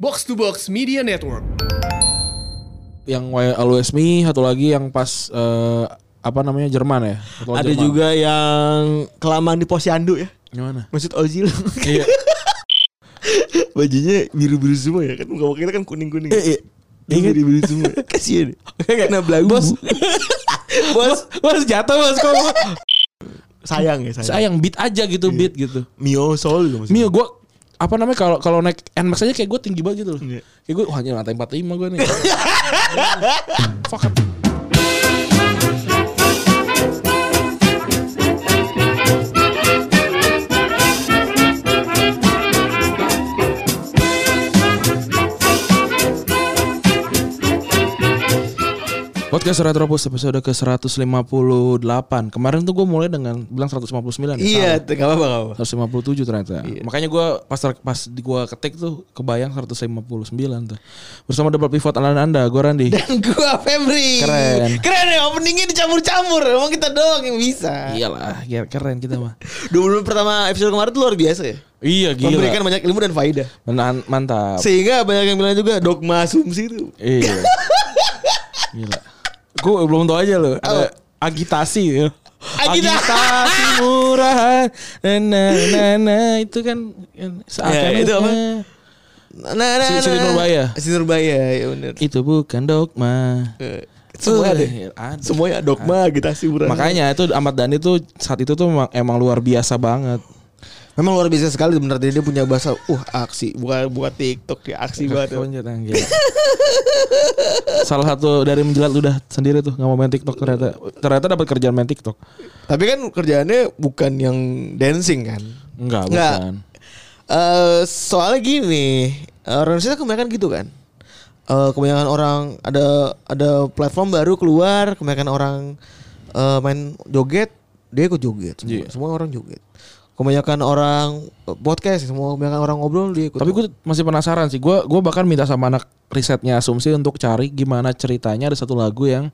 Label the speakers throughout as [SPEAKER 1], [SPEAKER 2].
[SPEAKER 1] Box to Box Media Network.
[SPEAKER 2] yang Why Always Me, satu lagi yang pas eh, apa namanya Jerman ya. Satu lawan
[SPEAKER 3] Ada
[SPEAKER 2] Jerman.
[SPEAKER 3] juga yang kelamaan di posyandu ya.
[SPEAKER 2] gimana?
[SPEAKER 3] Maksud Ozil.
[SPEAKER 2] Iya.
[SPEAKER 3] Bajunya biru-biru semua ya kan. Muka kita kan kuning-kuning.
[SPEAKER 2] Eh, eh.
[SPEAKER 3] Dia biru-biru semua. Kasihan. Kena belagu.
[SPEAKER 2] Bos.
[SPEAKER 3] Bos.
[SPEAKER 2] Bos jatuh bos kok.
[SPEAKER 3] Sayang ya sayang.
[SPEAKER 2] Sayang beat aja gitu beat gitu.
[SPEAKER 3] Mio Sol juga maksudnya.
[SPEAKER 2] Mio gue apa namanya kalau kalau naik NMAX aja kayak gue tinggi banget gitu loh.
[SPEAKER 3] Iya.
[SPEAKER 2] Kayak gue wah anjir lantai 45 gue nih. Fuck. Podcast Retropus episode ke-158 Kemarin tuh gue mulai dengan bilang 159 ya,
[SPEAKER 3] Iya,
[SPEAKER 2] salah.
[SPEAKER 3] gak apa-apa, gak apa-apa.
[SPEAKER 2] 157 ternyata. Makanya gue pas ter- pas di gua ketik tuh kebayang 159 tuh. Bersama double pivot ala Anda, gue Randi.
[SPEAKER 3] Dan gua Febri.
[SPEAKER 2] Keren.
[SPEAKER 3] Keren ya openingnya dicampur-campur. Emang kita doang yang bisa.
[SPEAKER 2] Iyalah, ya, keren kita mah.
[SPEAKER 3] 20 Iya. pertama episode kemarin tuh luar biasa ya.
[SPEAKER 2] iya
[SPEAKER 3] Memberikan
[SPEAKER 2] gila.
[SPEAKER 3] banyak ilmu dan faedah.
[SPEAKER 2] Menan- mantap.
[SPEAKER 3] Sehingga banyak yang bilang juga dogma asumsi itu.
[SPEAKER 2] Iya. gila. Gue belum tahu aja loh. Ada agitasi. Ya.
[SPEAKER 3] Oh. Agita-
[SPEAKER 2] agitasi murahan. Na na na, na. itu kan yang seakan
[SPEAKER 3] Ya, itu apa? Nah, nah, nah,
[SPEAKER 2] Siti
[SPEAKER 3] nah.
[SPEAKER 2] Nurbaya.
[SPEAKER 3] Siti Nurbaya, ya bener.
[SPEAKER 2] Itu bukan dogma.
[SPEAKER 3] Eh, Semua ada.
[SPEAKER 2] Eh, ada.
[SPEAKER 3] Semuanya dogma kita sih
[SPEAKER 2] Makanya itu Ahmad Dhani tuh saat itu tuh emang, emang luar biasa banget.
[SPEAKER 3] memang luar biasa sekali bener dia dia punya bahasa uh aksi bukan buat TikTok dia aksi banget.
[SPEAKER 2] Kau nyet, anjing. Salah satu dari menjilat ludah sendiri tuh nggak mau main TikTok ternyata ternyata dapat kerjaan main TikTok.
[SPEAKER 3] Tapi kan kerjaannya bukan yang dancing kan.
[SPEAKER 2] Enggak,
[SPEAKER 3] Nggak.
[SPEAKER 2] bukan.
[SPEAKER 3] Eh soalnya gini, orang Indonesia kebanyakan gitu kan. Eh kebanyakan orang ada ada platform baru keluar, kebanyakan orang eh, main joget, dia ikut joget. Semua,
[SPEAKER 2] Iya.
[SPEAKER 3] semua orang joget. Kebanyakan orang eh, podcast, semua kebanyakan orang ngobrol dia ikut.
[SPEAKER 2] Tapi gue masih penasaran sih. Gue gue bahkan minta sama anak risetnya asumsi untuk cari gimana ceritanya ada satu lagu yang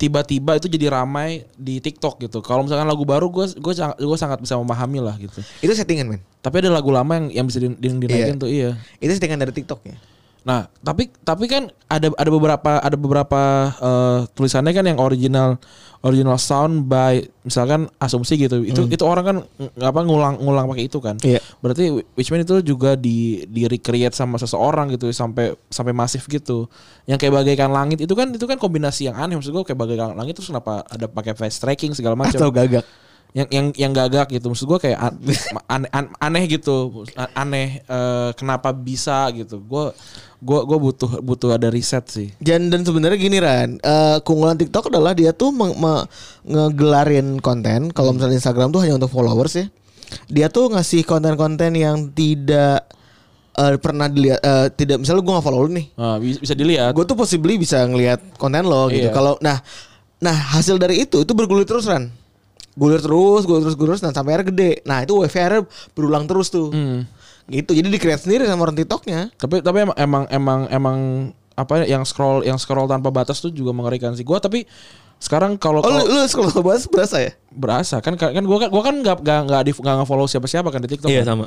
[SPEAKER 2] tiba-tiba itu jadi ramai di TikTok gitu. Kalau misalkan lagu baru gue gue gue sangat bisa memahami lah gitu.
[SPEAKER 3] itu settingan men.
[SPEAKER 2] Tapi ada lagu lama yang yang bisa din- din- dinaikin
[SPEAKER 3] Iya.
[SPEAKER 2] tuh iya.
[SPEAKER 3] Itu settingan dari TikTok ya.
[SPEAKER 2] Nah, tapi tapi kan ada ada beberapa ada beberapa eh, tulisannya kan yang original original sound by misalkan asumsi gitu. Itu itu orang kan ng- apa ngulang-ngulang pakai itu kan.
[SPEAKER 3] Hmm. Iya.
[SPEAKER 2] Berarti Witchman itu juga di di recreate sama seseorang gitu sampai sampai masif gitu. Yang kayak bagaikan langit itu kan itu kan kombinasi yang aneh maksud gua kayak bagaikan langit terus kenapa ada pakai face tracking segala macam
[SPEAKER 3] Atau gagak.
[SPEAKER 2] yang yang yang gagak gitu maksud gua kayak an- aneh, an- aneh gitu A- aneh eh, kenapa bisa gitu gua gua gua butuh butuh ada riset sih
[SPEAKER 3] Dan, dan sebenarnya gini Ran, Eh keunggulan TikTok adalah dia tuh meng- me- ngegelarin konten. Kalau misalnya Instagram tuh hanya untuk followers ya. Dia tuh ngasih konten-konten yang tidak eh, pernah dilihat, eh, tidak misalnya gue nggak follow lu nih,
[SPEAKER 2] Nah, bi- bisa dilihat
[SPEAKER 3] gue tuh possibly bisa ngelihat konten lo gitu.
[SPEAKER 2] Iya.
[SPEAKER 3] Kalau nah, nah hasil dari itu itu bergulir terus Ran, gulir terus, gulir terus, gulir terus, dan sampai akhirnya gede. Nah itu WVR berulang terus tuh.
[SPEAKER 2] Hmm.
[SPEAKER 3] Gitu, jadi di-create sendiri sama orang TikToknya.
[SPEAKER 2] tapi tapi emang emang emang emang apa ya, yang scroll yang scroll tanpa batas tuh juga mengerikan sih gua tapi sekarang kalau
[SPEAKER 3] Oh,
[SPEAKER 2] kalau-
[SPEAKER 3] lu, lu sekolah bahas berasa ya?
[SPEAKER 2] berasa kan kan gua kan gua kan nggak nggak nggak di nggak nge-follow siapa-siapa kan di TikTok kan.
[SPEAKER 3] Iya, sama.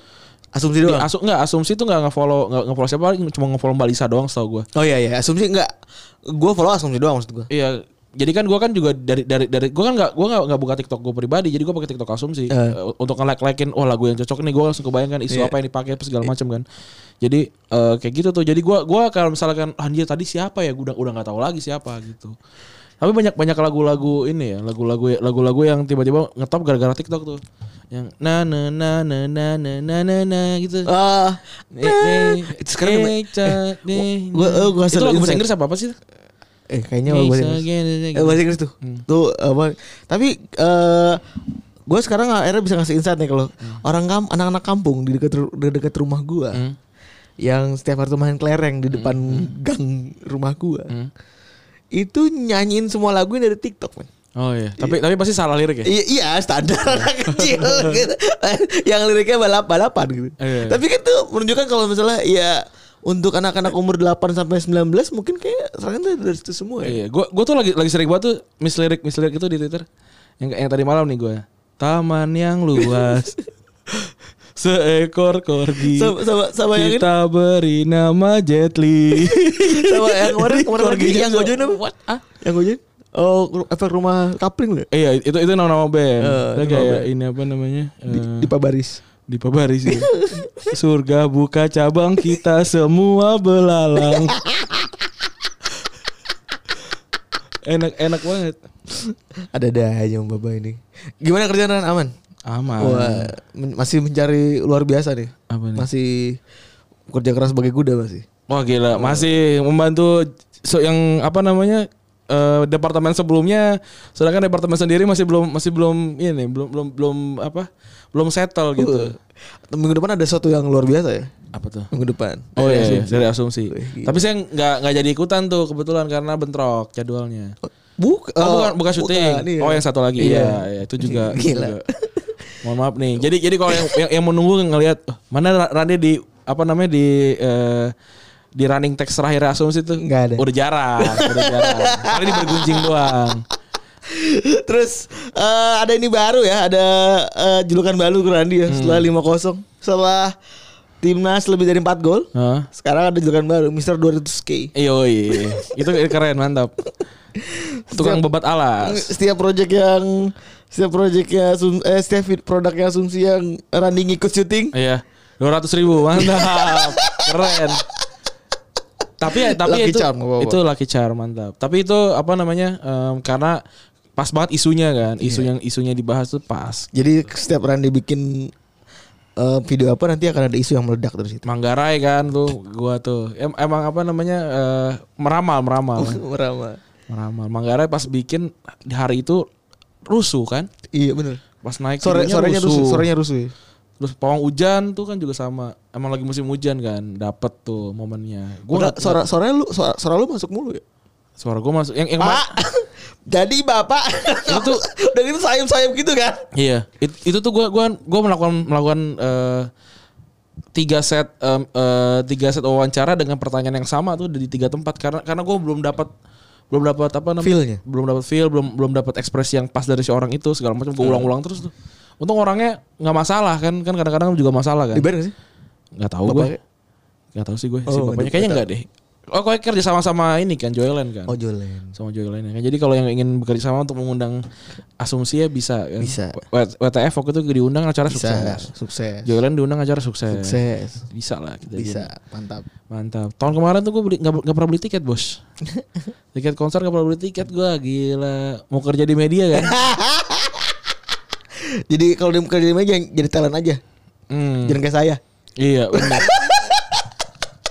[SPEAKER 2] Di
[SPEAKER 3] Asumsi doang.
[SPEAKER 2] asu nggak asumsi tuh nggak nge-follow nggak nge-follow siapa cuma nge-follow Mbak Lisa doang setahu gua
[SPEAKER 3] Oh iya iya asumsi enggak Gue follow asumsi doang maksud gue
[SPEAKER 2] Iya, jadi kan gua kan juga dari dari dari gua kan nggak gua nggak nggak buka TikTok gua pribadi, jadi gua pakai TikTok asumsi
[SPEAKER 3] Eh.
[SPEAKER 2] Eh, untuk nge-like-likein oh lagu yang cocok nih gua langsung kebayangkan isu
[SPEAKER 3] Iya.
[SPEAKER 2] apa yang dipakai apa segala macam kan. Jadi eh, kayak gitu tuh. Jadi gua gua kalau misalkan anjir tadi siapa ya gua udah udah nggak tahu lagi siapa gitu. Tapi banyak banyak lagu-lagu ini ya, lagu-lagu lagu-lagu yang tiba-tiba ngetop gara-gara TikTok tuh. Yang na na na na na na na na, na gitu.
[SPEAKER 3] Ah,
[SPEAKER 2] Nih, nih,
[SPEAKER 3] Itu sekarang
[SPEAKER 2] nih, ca- nih,
[SPEAKER 3] gua- eh, gua
[SPEAKER 2] Itu
[SPEAKER 3] sadar
[SPEAKER 2] lagu bahasa
[SPEAKER 3] insight.
[SPEAKER 2] Inggris apa apa sih?
[SPEAKER 3] eh kayaknya bahasa
[SPEAKER 2] gitu.
[SPEAKER 3] Inggris. Eh, bahasa Inggris tuh. Tuh apa? Tapi eh gue sekarang akhirnya bisa ngasih insight nih kalau orang kam anak-anak kampung di dekat ru- di dekat rumah gue yang setiap hari tuh main kelereng di depan gang rumah gue itu nyanyiin semua lagu dari TikTok men.
[SPEAKER 2] Oh iya, tapi tapi pasti salah lirik ya.
[SPEAKER 3] Iya, iya standar anak kecil gitu. Yang liriknya balap-balapan gitu.
[SPEAKER 2] Iya.
[SPEAKER 3] Tapi kan tuh menunjukkan kalau misalnya ya untuk anak-anak umur 8 sampai 19 mungkin kayak serangan tuh dari situ semua ya.
[SPEAKER 2] Iya, gua gua tuh lagi lagi sering banget tuh mislirik mislirik itu di Twitter. Yang yang tadi malam nih gua. Taman yang luas. seekor korgi.
[SPEAKER 3] Sama- sama- sama yang ini.
[SPEAKER 2] Iya. Kita beri nama Jetli.
[SPEAKER 3] Sama yang kemarin kemarin lagi
[SPEAKER 2] Korginya
[SPEAKER 3] yang
[SPEAKER 2] tuh,
[SPEAKER 3] gojoin apa?
[SPEAKER 2] What? Ah?
[SPEAKER 3] Yang gojoin? Oh, ru- efek rumah kapling lu. ya?
[SPEAKER 2] Iya, itu itu nama-nama band.
[SPEAKER 3] Eh,
[SPEAKER 2] Dia
[SPEAKER 3] nama
[SPEAKER 2] kayak
[SPEAKER 3] band.
[SPEAKER 2] ini apa namanya?
[SPEAKER 3] Di,
[SPEAKER 2] Eh,
[SPEAKER 3] di Pabaris.
[SPEAKER 2] di Pabaris ya. Surga buka cabang kita semua belalang. Enak-enak banget.
[SPEAKER 3] Ada ada aja Om Baba ini. Gimana kerjaan Ran? aman?
[SPEAKER 2] Aman.
[SPEAKER 3] Wah, men- masih mencari luar biasa nih.
[SPEAKER 2] Apa nih?
[SPEAKER 3] Masih kerja keras sebagai kuda masih.
[SPEAKER 2] Wah gila, masih membantu so yang apa namanya eh, departemen sebelumnya, sedangkan departemen sendiri masih belum masih belum ini belum belum belum apa belum settle gitu.
[SPEAKER 3] Uh, Minggu depan ada sesuatu yang luar biasa ya.
[SPEAKER 2] Apa tuh?
[SPEAKER 3] Minggu depan.
[SPEAKER 2] Oh iya,
[SPEAKER 3] Ada
[SPEAKER 2] iya,
[SPEAKER 3] asumsi.
[SPEAKER 2] dari asumsi.
[SPEAKER 3] Wih, gila.
[SPEAKER 2] Tapi saya nggak nggak jadi ikutan tuh kebetulan karena bentrok jadwalnya.
[SPEAKER 3] Buk,
[SPEAKER 2] Oh,
[SPEAKER 3] eh,
[SPEAKER 2] bukan bukan syuting.
[SPEAKER 3] bukan, iya.
[SPEAKER 2] Oh yang satu lagi. Iya, iya, itu juga. itu juga.
[SPEAKER 3] Gila.
[SPEAKER 2] Mohon maaf nih. Jadi jadi kalau yang yang, yang menunggu ngelihat "Oh, mana Ra- Rande di apa namanya di eh, di running text terakhir asumsi itu
[SPEAKER 3] Nggak ada.
[SPEAKER 2] Udah jarang, udah jarang. Kali di bergunjing doang.
[SPEAKER 3] Terus eh, ada ini baru ya, ada eh, julukan baru ke Randi
[SPEAKER 2] Hmm.
[SPEAKER 3] ya setelah 5-0. Setelah timnas lebih dari 4 gol.
[SPEAKER 2] Hah?
[SPEAKER 3] Sekarang ada julukan baru Mister 200K.
[SPEAKER 2] Iya, iya. itu keren, mantap. Tukang bebat alas.
[SPEAKER 3] Setiap project yang setiap projectnya Asum- eh, setiap vid- produknya asumsi yang Randi ngikut syuting.
[SPEAKER 2] Iya, dua ratus ribu mantap, keren. Tapi ya, tapi ya
[SPEAKER 3] Lucky
[SPEAKER 2] itu
[SPEAKER 3] charm, nggak apa-apa.
[SPEAKER 2] itu lucky charm mantap. Tapi itu apa namanya? em, karena pas banget isunya kan,
[SPEAKER 3] Iya.
[SPEAKER 2] isu yang isunya dibahas tuh pas.
[SPEAKER 3] Jadi setiap Randi bikin eh, video apa nanti akan ada isu yang meledak dari situ.
[SPEAKER 2] Manggarai kan tuh, gua tuh Em- emang apa namanya eh, meramal meramal,
[SPEAKER 3] Oh. Merama.
[SPEAKER 2] meramal. Manggarai pas bikin di hari itu rusuh kan,
[SPEAKER 3] Iya bener
[SPEAKER 2] pas naik
[SPEAKER 3] Sore
[SPEAKER 2] tidurnya
[SPEAKER 3] sorenya rusuh, sorenya rusuh. ya.
[SPEAKER 2] Terus pawang hujan tuh kan juga sama. Emang lagi musim hujan kan, dapet tuh momennya. Gua
[SPEAKER 3] Udah,
[SPEAKER 2] nggak-
[SPEAKER 3] sore sore lu sore, sore lu masuk mulu ya.
[SPEAKER 2] suara gua masuk yang yang
[SPEAKER 3] Pak. Jadi Bapak itu udah gitu sayap-sayap gitu kan.
[SPEAKER 2] Iya, it- itu tuh gua gua gua melakukan melakukan eh, tiga set em, eh, tiga set wawancara dengan pertanyaan yang sama tuh di tiga tempat karena karena gua belum dapat belum dapat apa namanya
[SPEAKER 3] Feel-nya.
[SPEAKER 2] belum dapat feel belum belum dapat ekspresi yang pas dari si orang itu segala macam
[SPEAKER 3] Iya.
[SPEAKER 2] gua ulang-ulang terus tuh untung orangnya nggak masalah kan kan kadang-kadang juga masalah kan
[SPEAKER 3] Dibayar gak sih?
[SPEAKER 2] nggak tahu gue
[SPEAKER 3] Bapaknya?
[SPEAKER 2] nggak tahu sih gue si
[SPEAKER 3] Oh,
[SPEAKER 2] bapaknya
[SPEAKER 3] nggak
[SPEAKER 2] kayaknya
[SPEAKER 3] tahu.
[SPEAKER 2] nggak deh oh kok kerja sama sama ini kan Joyland kan
[SPEAKER 3] Oh Jolen.
[SPEAKER 2] sama Joy lainnya kan. Jadi kalau yang ingin bekerja sama untuk mengundang asumsi ya bisa kan.
[SPEAKER 3] Bisa.
[SPEAKER 2] W- WTF waktu itu diundang acara sukses.
[SPEAKER 3] Bisa. Sukses.
[SPEAKER 2] Joy lain diundang acara sukses.
[SPEAKER 3] Sukses.
[SPEAKER 2] Bisa lah kita
[SPEAKER 3] Bisa.
[SPEAKER 2] jadi.
[SPEAKER 3] Mantap.
[SPEAKER 2] Mantap. Tahun kemarin tuh gue beli nggak nggak pernah beli tiket, Bos. tiket konser nggak pernah beli tiket gue gila. Mau kerja di media kan?
[SPEAKER 3] Jadi kalau di kerja di meja jangan jadi talent aja.
[SPEAKER 2] Hmm,
[SPEAKER 3] Jangan kayak saya.
[SPEAKER 2] Iya, benar.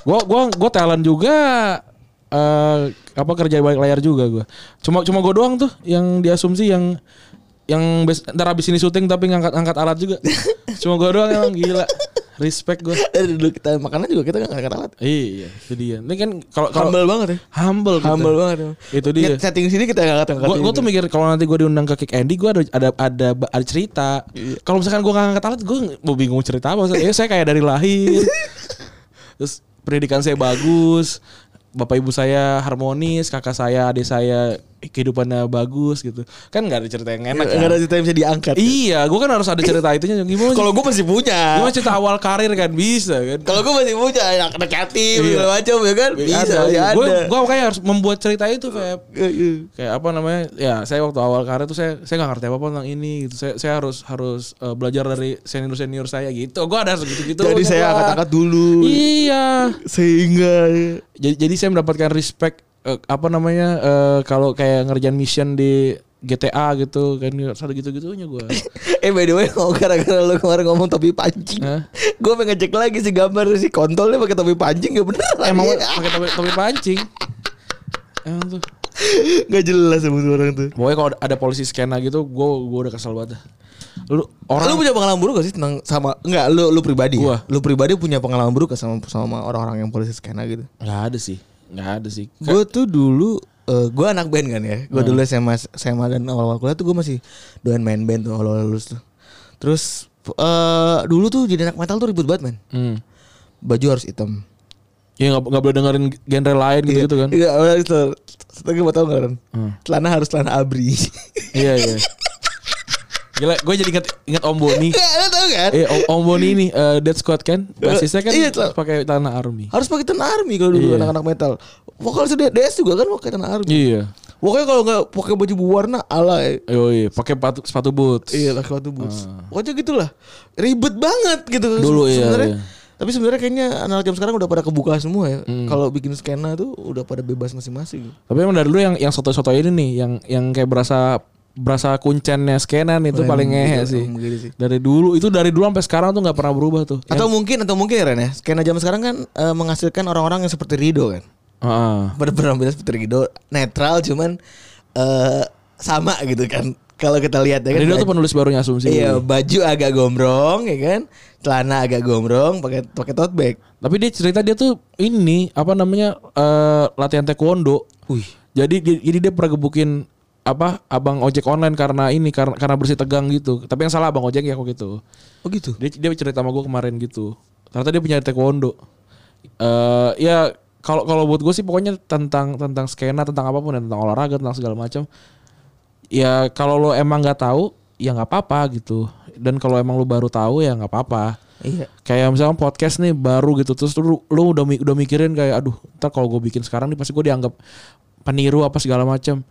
[SPEAKER 2] gua gua gua talent juga eh apa kerja di balik layar juga gua. Cuma cuma gua doang tuh yang diasumsi yang yang bes, ntar abis ini syuting tapi ngangkat-ngangkat alat juga. Cuma gua doang emang gila. Respect gua.
[SPEAKER 3] Dari dulu kita makanan juga kita gak kata alat.
[SPEAKER 2] Iya, itu dia. Ini kan kalau kalau
[SPEAKER 3] Humble banget ya.
[SPEAKER 2] humble, kita.
[SPEAKER 3] Humble banget. ya.
[SPEAKER 2] Gitu. Itu dia.
[SPEAKER 3] Nyet- Setting sini kita gak kata
[SPEAKER 2] Gue tuh mikir kalau nanti gue diundang ke Kick Andy gue ada ada ada, ada cerita.
[SPEAKER 3] Iya.
[SPEAKER 2] Kalau misalkan gue nggak ngangkat alat gue mau bingung cerita apa. Maksudnya, ya saya kayak dari lahir. Terus pendidikan saya bagus. Bapak ibu saya harmonis, kakak saya, adik saya kehidupannya bagus gitu. Kan nggak ada cerita yang enak. kan?
[SPEAKER 3] Gak Iya, ada cerita yang bisa diangkat.
[SPEAKER 2] Iya, gue kan harus ada cerita itunya. Gimana?
[SPEAKER 3] Kalau gue masih punya.
[SPEAKER 2] gimana cerita awal karir kan bisa kan?
[SPEAKER 3] Kalau gue masih punya anak negatif
[SPEAKER 2] Iya.
[SPEAKER 3] segala macam ya kan bisa
[SPEAKER 2] ada.
[SPEAKER 3] masih ada.
[SPEAKER 2] Gue gue kayak harus membuat cerita itu, Feb.
[SPEAKER 3] Iya.
[SPEAKER 2] kayak apa namanya ya saya waktu awal karir tuh saya saya nggak ngerti apa apa tentang ini gitu saya saya harus harus eh, belajar dari senior senior saya gitu gue ada segitu gitu
[SPEAKER 3] Jadi saya angkat-angkat dulu
[SPEAKER 2] iya
[SPEAKER 3] sehingga ya.
[SPEAKER 2] jadi jadi saya mendapatkan respect eh, apa namanya eh, kalau kayak ngerjain mission di GTA gitu kan satu gitu gitunya gue
[SPEAKER 3] eh by the way kalau gara-gara lu kemarin ngomong topi pancing,
[SPEAKER 2] Hah?
[SPEAKER 3] gue pengen cek lagi si gambar si kontolnya pakai topi pancing ya. gak bener
[SPEAKER 2] emang
[SPEAKER 3] lagi.
[SPEAKER 2] pakai topi, topi pancing emang tuh
[SPEAKER 3] gak jelas sama tuh orang tuh.
[SPEAKER 2] pokoknya kalau ada polisi skena gitu gue gue udah kesel banget dah. lu
[SPEAKER 3] lu
[SPEAKER 2] orang
[SPEAKER 3] punya pengalaman buruk gak sih tentang sama enggak lu lu pribadi?
[SPEAKER 2] Gua.
[SPEAKER 3] Ya? Lu pribadi punya pengalaman buruk gak sama sama orang-orang yang polisi skena gitu?
[SPEAKER 2] nggak ada sih nggak ada sih
[SPEAKER 3] Gue tuh dulu eh gue anak band kan ya. Gue
[SPEAKER 2] Hmm.
[SPEAKER 3] dulu SMA SMA dan awal-awal kuliah tuh gue masih doan main band tuh awal-awal lulus tuh. Terus eh dulu tuh jadi anak metal tuh ribut banget men.
[SPEAKER 2] Hmm.
[SPEAKER 3] Baju harus hitam.
[SPEAKER 2] Ya nggak nggak boleh dengerin genre lain gitu gitu kan?
[SPEAKER 3] Iya, awal itu. Setelah gue tau nggak kan?
[SPEAKER 2] Hmm.
[SPEAKER 3] Celana harus celana abri.
[SPEAKER 2] Iya iya. Gila, gue jadi inget, inget Om Boni.
[SPEAKER 3] Iya, lo tau kan?
[SPEAKER 2] Eh, Om, Om Boni ini eh, Dead Squad kan? Basisnya kan
[SPEAKER 3] Iya, tau.
[SPEAKER 2] pakai tanah army.
[SPEAKER 3] Harus pakai tanah army kalau dulu
[SPEAKER 2] Iya.
[SPEAKER 3] anak-anak metal. Vokalis D- DS juga kan pakai tanah army.
[SPEAKER 2] Iya.
[SPEAKER 3] Pokoknya kalau nggak pakai baju berwarna ala
[SPEAKER 2] Oh iya, pakai patu- sepatu boots.
[SPEAKER 3] iya lah sepatu boots. Pokoknya gitulah. Ribet banget gitu
[SPEAKER 2] Ah. Dulu, iya,
[SPEAKER 3] sebenarnya.
[SPEAKER 2] iya.
[SPEAKER 3] Tapi sebenarnya kayaknya anak jam sekarang udah pada kebuka semua ya.
[SPEAKER 2] Hmm.
[SPEAKER 3] Kalau bikin skena tuh udah pada bebas masing-masing.
[SPEAKER 2] Tapi emang dari dulu yang yang soto-soto ini nih, yang yang kayak berasa berasa kuncennya skenan itu paling ngehe
[SPEAKER 3] gitu,
[SPEAKER 2] sih.
[SPEAKER 3] emang gitu sih.
[SPEAKER 2] Dari dulu itu dari dulu sampai sekarang tuh nggak pernah berubah tuh.
[SPEAKER 3] Atau mungkin atau mungkin Ren ya. Skena jam sekarang kan eh, menghasilkan orang-orang yang seperti Rido kan.
[SPEAKER 2] Heeh.
[SPEAKER 3] pada penampilan seperti Rido netral cuman eh sama gitu kan kalau kita lihat ya kan
[SPEAKER 2] Rido tuh
[SPEAKER 3] baju-
[SPEAKER 2] penulis barunya asumsi.
[SPEAKER 3] iya
[SPEAKER 2] dulu.
[SPEAKER 3] baju agak gombrong ya kan celana agak gombrong pakai pakai tote bag
[SPEAKER 2] Tapi dia cerita dia tuh ini apa namanya eh, latihan taekwondo.
[SPEAKER 3] Wih.
[SPEAKER 2] Jadi jadi dia pernah gebukin apa abang ojek online karena ini karena karena bersih tegang gitu. Tapi yang salah abang ojek ya kok gitu.
[SPEAKER 3] oh gitu
[SPEAKER 2] Dia dia cerita sama gue kemarin gitu. Ternyata dia punya taekwondo. Eh ya kalau kalau buat gue sih pokoknya tentang tentang skena tentang apapun ya, tentang olahraga tentang segala macam. Ya kalau lo emang nggak tahu ya nggak apa-apa gitu. Dan kalau emang lo baru tahu ya nggak apa-apa
[SPEAKER 3] iya
[SPEAKER 2] kayak misalnya podcast nih baru gitu terus lu, lu udah mi- udah mikirin kayak aduh ntar kalau gue bikin sekarang nih pasti gue dianggap peniru apa segala macam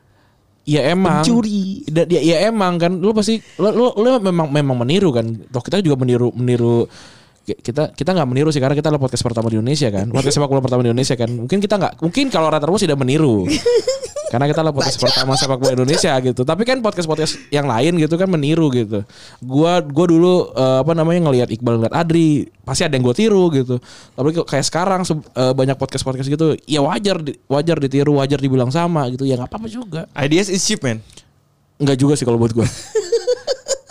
[SPEAKER 2] ya emang
[SPEAKER 3] Pencuri.
[SPEAKER 2] Da- ya, ya emang kan lu pasti lu, lu, lu memang memang meniru kan toh kita juga meniru meniru ki- kita kita nggak meniru sih karena kita adalah podcast pertama di Indonesia kan podcast sepak bola pertama di Indonesia kan mungkin kita nggak mungkin kalau rata Ramos tidak meniru karena kita adalah podcast pertama sepak bola Indonesia gitu tapi kan podcast podcast yang lain gitu kan meniru gitu gua gua dulu eh, apa namanya ngelihat Iqbal ngeliat Adri pasti ada yang gue tiru gitu tapi kok kayak sekarang se- eh, banyak podcast podcast gitu ya wajar di- wajar ditiru wajar dibilang sama gitu ya nggak apa-apa juga
[SPEAKER 3] ideas is cheap man
[SPEAKER 2] Enggak juga sih kalau buat gua.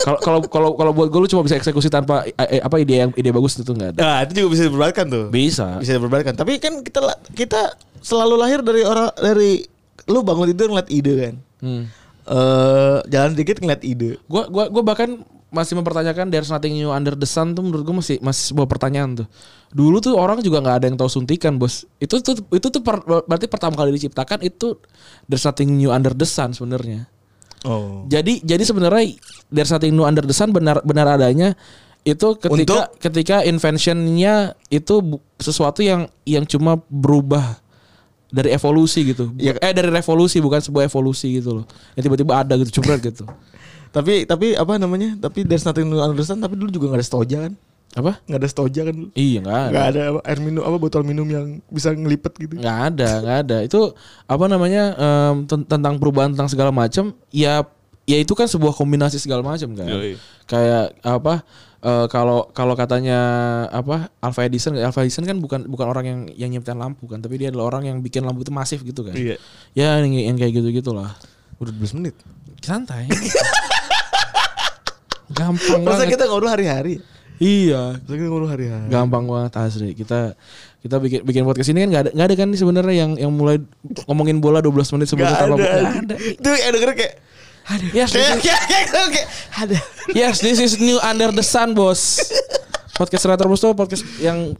[SPEAKER 2] Kalau kalau kalau kalau buat gue lu cuma bisa eksekusi tanpa eh, eh, apa ide yang ide bagus itu enggak ada.
[SPEAKER 3] nah itu juga bisa diperdebatkan tuh
[SPEAKER 2] Bisa.
[SPEAKER 3] bisa diperdebatkan tapi kan kita la- kita selalu lahir dari orang dari lu bangun tidur ngeliat ide kan
[SPEAKER 2] Hmm.
[SPEAKER 3] Eh jalan dikit ngeliat ide
[SPEAKER 2] Gua gua gua bahkan masih mempertanyakan there's nothing new under the sun tuh menurut gue masih masih sebuah pertanyaan tuh. Dulu tuh orang juga nggak ada yang tahu suntikan, Bos. Itu tuh itu tuh per- berarti pertama kali diciptakan itu there's nothing new under the sun sebenarnya.
[SPEAKER 3] oh
[SPEAKER 2] Jadi jadi sebenarnya there's nothing new under the sun benar benar adanya itu ketika ketika inventionnya itu bu- sesuatu yang yang cuma berubah dari evolusi gitu.
[SPEAKER 3] Ya.
[SPEAKER 2] Eh dari revolusi bukan sebuah evolusi gitu loh. Yang tiba-tiba ada gitu cupret gitu.
[SPEAKER 3] tapi tapi apa namanya tapi there's nothing to understand tapi dulu juga nggak ada stoja kan
[SPEAKER 2] Apa?
[SPEAKER 3] nggak ada stoja kan dulu
[SPEAKER 2] Iya enggak ada.
[SPEAKER 3] Gak ada air minum apa botol minum yang bisa ngelipet gitu.
[SPEAKER 2] nggak ada nggak ada itu apa namanya em, ten- tentang perubahan tentang segala macam ya ya itu kan sebuah kombinasi segala macam kan kayak apa eh, kalau kalau katanya apa Alpha Edison Alpha Edison kan bukan bukan orang yang yang nyiptain lampu kan tapi dia adalah orang yang bikin lampu itu masif gitu kan
[SPEAKER 3] Iya.
[SPEAKER 2] ya yang, yang kayak gitu gitulah
[SPEAKER 3] Udah 12 menit.
[SPEAKER 2] santai gampang
[SPEAKER 3] Masa
[SPEAKER 2] banget
[SPEAKER 3] kita ngobrol hari-hari?
[SPEAKER 2] iya
[SPEAKER 3] Masa kita ngobrol hari-hari?
[SPEAKER 2] gampang banget asli kita kita bikin bikin podcast ini kan nggak ada nggak ada kan nih sebenarnya yang yang mulai ngomongin bola 12 menit sebelum
[SPEAKER 3] Gak
[SPEAKER 2] kita
[SPEAKER 3] ada.
[SPEAKER 2] nggak ada
[SPEAKER 3] Itu yang denger kayak Aduh.
[SPEAKER 2] yes this
[SPEAKER 3] Kayak
[SPEAKER 2] is,
[SPEAKER 3] kayak kayak kayak ada.
[SPEAKER 2] yes this is new under the sun bos podcast Retro Bos tuh podcast yang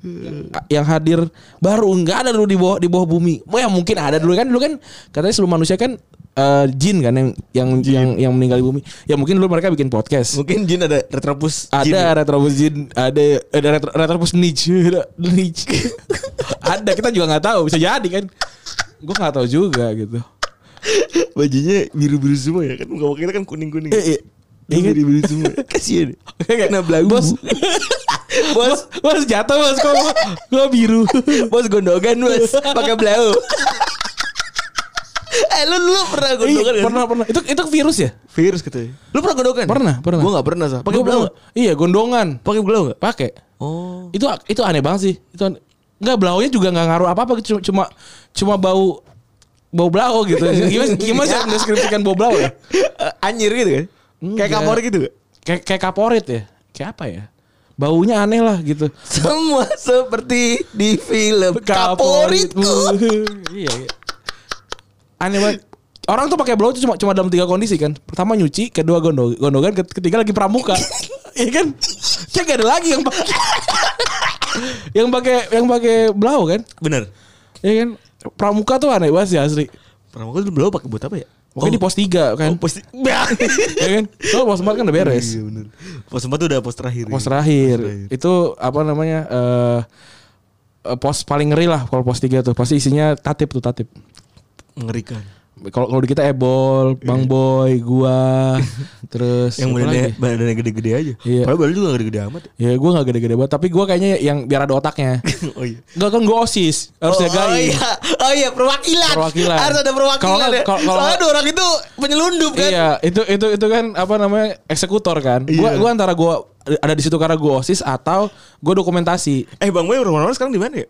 [SPEAKER 2] yang hadir baru nggak ada dulu di bawah di bawah bumi oh ya mungkin ada dulu kan dulu kan katanya seluruh manusia kan eh, jin kan yang yang yang yang meninggal di bumi ya mungkin dulu mereka bikin podcast
[SPEAKER 3] Mungkin Jin ada retropus Jin.
[SPEAKER 2] ada retrobus jin ada ada retro, retrobus niche niche ada kita juga nggak tahu bisa jadi kan gue nggak tahu juga gitu
[SPEAKER 3] Bajunya biru-biru semua ya kan. Muka kita kan kuning-kuning.
[SPEAKER 2] Eh, iya. kan?
[SPEAKER 3] Dia biru-biru semua. Kasihan. Kena belagu.
[SPEAKER 2] Bos.
[SPEAKER 3] bos,
[SPEAKER 2] bos jatuh bos kok gue biru
[SPEAKER 3] bos gondogan bos. Pakai blau. eh lu lu pernah gondogan
[SPEAKER 2] Iya,
[SPEAKER 3] kan?
[SPEAKER 2] pernah pernah itu itu virus ya
[SPEAKER 3] Virus katanya. Lu pernah gondokan?
[SPEAKER 2] Pernah, pernah.
[SPEAKER 3] gitu Gua gak pernah sah. Pakai
[SPEAKER 2] Gua
[SPEAKER 3] blau.
[SPEAKER 2] pernah- iya gondongan
[SPEAKER 3] Pakai blau gak?
[SPEAKER 2] pakai
[SPEAKER 3] Oh.
[SPEAKER 2] itu itu aneh banget sih itu aneh. nggak blaunya juga nggak ngaruh apa apa cuma cuma bau bau blau gitu gimana gimana sih mendeskripsikan bau blau ya
[SPEAKER 3] Anjir gitu kan?
[SPEAKER 2] Enggak.
[SPEAKER 3] Kayak kapor gitu gak?
[SPEAKER 2] kayak kayak kaporit ya kayak apa ya baunya aneh lah gitu
[SPEAKER 3] Semua seperti di film Kaporitku.
[SPEAKER 2] iya iya. aneh banget orang tuh pakai blow tuh cuma cuma dalam tiga kondisi kan pertama nyuci kedua gondog gondogan ket- ketiga lagi pramuka iya kan kayak gak ada lagi yang pakai yang pakai yang pakai blow kan
[SPEAKER 3] Bener.
[SPEAKER 2] iya kan pramuka tuh aneh banget sih asli
[SPEAKER 3] Pramuka dulu blau pakai buat apa ya?
[SPEAKER 2] Pokoknya di pos 3 kan.
[SPEAKER 3] Oh, pasti. Nah.
[SPEAKER 2] ya kan? Soalnya pos 4 kan udah beres.
[SPEAKER 3] Iya benar. Pos empat tuh udah pos terakhir.
[SPEAKER 2] Pos terakhir. Itu apa namanya? eh eh, pos paling ngeri lah kalau pos 3 tuh. Pasti isinya tatip tuh tatip.
[SPEAKER 3] Mengerikan.
[SPEAKER 2] Kalau kalau di kita Ebol, Bang Boy, gua, terus
[SPEAKER 3] Yang
[SPEAKER 2] apa
[SPEAKER 3] badannya
[SPEAKER 2] lagi?
[SPEAKER 3] badannya gede-gede aja.
[SPEAKER 2] Iya.
[SPEAKER 3] Padahal badan juga nggak gede-gede amat.
[SPEAKER 2] Ya gue gak gede-gede banget Tapi gue kayaknya yang biar ada otaknya
[SPEAKER 3] oh iya.
[SPEAKER 2] Gak kan gue osis Harus
[SPEAKER 4] oh,
[SPEAKER 2] jagain
[SPEAKER 4] oh iya, oh iya perwakilan.
[SPEAKER 2] Perwakilan.
[SPEAKER 4] Harus ada
[SPEAKER 2] Kalau
[SPEAKER 4] perwakilan.
[SPEAKER 2] nggak-
[SPEAKER 4] ya.
[SPEAKER 2] kalau- kalau
[SPEAKER 4] Soalnya
[SPEAKER 2] nggak-
[SPEAKER 4] dua orang itu penyelundup kan.
[SPEAKER 2] Iya, itu itu itu kan apa namanya eksekutor kan. Gua
[SPEAKER 3] Iya.
[SPEAKER 2] gua antara gua ada di situ karena gua osis atau gua dokumentasi.
[SPEAKER 3] Eh Bang Boy rumah-rumah sekarang di mana ya?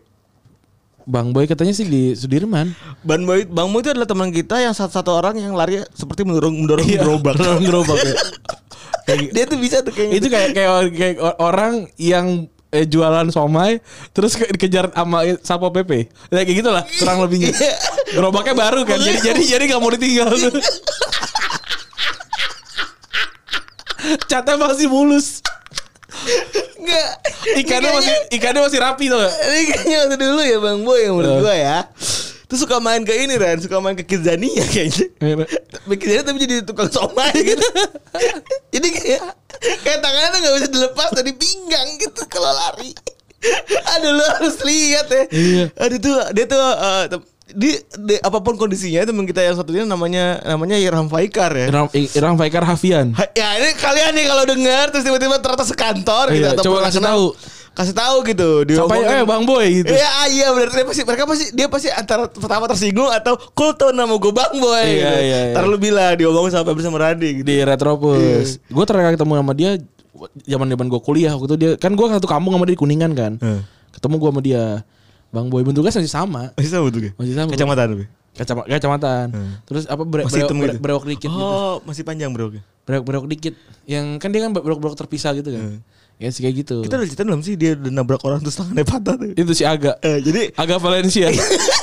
[SPEAKER 2] Bang Boy katanya sih di Sudirman.
[SPEAKER 3] Bang Boy, Bang Boy itu adalah teman kita yang satu-satu orang yang lari seperti mendorong mendorong
[SPEAKER 2] Iya.
[SPEAKER 3] gerobak.
[SPEAKER 2] Dorong gerobak ya.
[SPEAKER 4] Dia tuh bisa tuh kayaknya.
[SPEAKER 2] itu kayak kayak kayak orang yang eh, jualan somai terus ke- dikejar sama sapo pp Ya, kayak gitulah kurang lebihnya
[SPEAKER 4] Iya.
[SPEAKER 2] gerobaknya baru kan jadi jadi jadi nggak mau ditinggal tuh. catnya masih mulus
[SPEAKER 4] Enggak.
[SPEAKER 2] ikannya
[SPEAKER 4] Ini
[SPEAKER 2] masih
[SPEAKER 4] kayaknya-
[SPEAKER 2] ikannya masih rapi tuh
[SPEAKER 4] Ini kayaknya waktu dulu ya Bang Boy yang menurut
[SPEAKER 2] Iya.
[SPEAKER 4] gua ya.
[SPEAKER 3] Terus suka main ke ini Ran, suka main ke Kidzania kayaknya.
[SPEAKER 2] Iya.
[SPEAKER 4] Bikin jadi tapi jadi tukang somai gitu.
[SPEAKER 2] Iya.
[SPEAKER 4] jadi kayak kayak tangannya tuh gak bisa dilepas dari pinggang gitu kalau lari. Aduh lu harus lihat ya.
[SPEAKER 2] Iya.
[SPEAKER 3] Ada tuh dia tuh eh, tem- di, di- apapun kondisinya teman kita yang satunya namanya namanya Irham Faikar ya.
[SPEAKER 2] Irham, Irham Faikar Hafian
[SPEAKER 3] Ha- Ya ini kalian nih kalau dengar terus tiba-tiba ternyata sekantor gitu
[SPEAKER 2] Iya,
[SPEAKER 3] atau
[SPEAKER 2] coba
[SPEAKER 3] pernah
[SPEAKER 2] kasih
[SPEAKER 3] kenal,
[SPEAKER 2] tahu.
[SPEAKER 3] Kasih tahu gitu.
[SPEAKER 2] sampai
[SPEAKER 3] diomongin.
[SPEAKER 2] eh bang boy gitu
[SPEAKER 3] Iya, iya benar. Dia pasti mereka pasti dia pasti antara pertama tersinggung atau cool tau nama gue Bang Boy.
[SPEAKER 2] Iya,
[SPEAKER 3] gitu.
[SPEAKER 2] iya, iya.
[SPEAKER 3] Ntar lu bilang diomongin sama Febri sama Randi gitu.
[SPEAKER 2] di Retropus. Gue terakhir ketemu sama dia zaman zaman gue kuliah waktu itu dia kan gue satu kampung sama dia di Kuningan kan.
[SPEAKER 3] Hmm.
[SPEAKER 2] Ketemu gue sama dia. Bang Boy bentuknya masih sama.
[SPEAKER 3] Masih sama tuh
[SPEAKER 2] Masih sama.
[SPEAKER 3] Kacamata tapi.
[SPEAKER 2] Kacama kacamatan.
[SPEAKER 3] Hmm.
[SPEAKER 2] Terus apa bre bre-
[SPEAKER 3] Masih hitam
[SPEAKER 2] bre-
[SPEAKER 3] gitu.
[SPEAKER 2] berok dikit gitu.
[SPEAKER 3] Oh, masih panjang bro.
[SPEAKER 2] Berok-berok dikit. Yang kan dia kan berok-berok terpisah gitu kan. Ya sih kayak gitu.
[SPEAKER 3] Hmm. Kita udah cerita belum sih dia udah nabrak orang terus tangannya patah tuh.
[SPEAKER 2] itu si Aga.
[SPEAKER 3] Eh, jadi
[SPEAKER 2] Aga Valencia.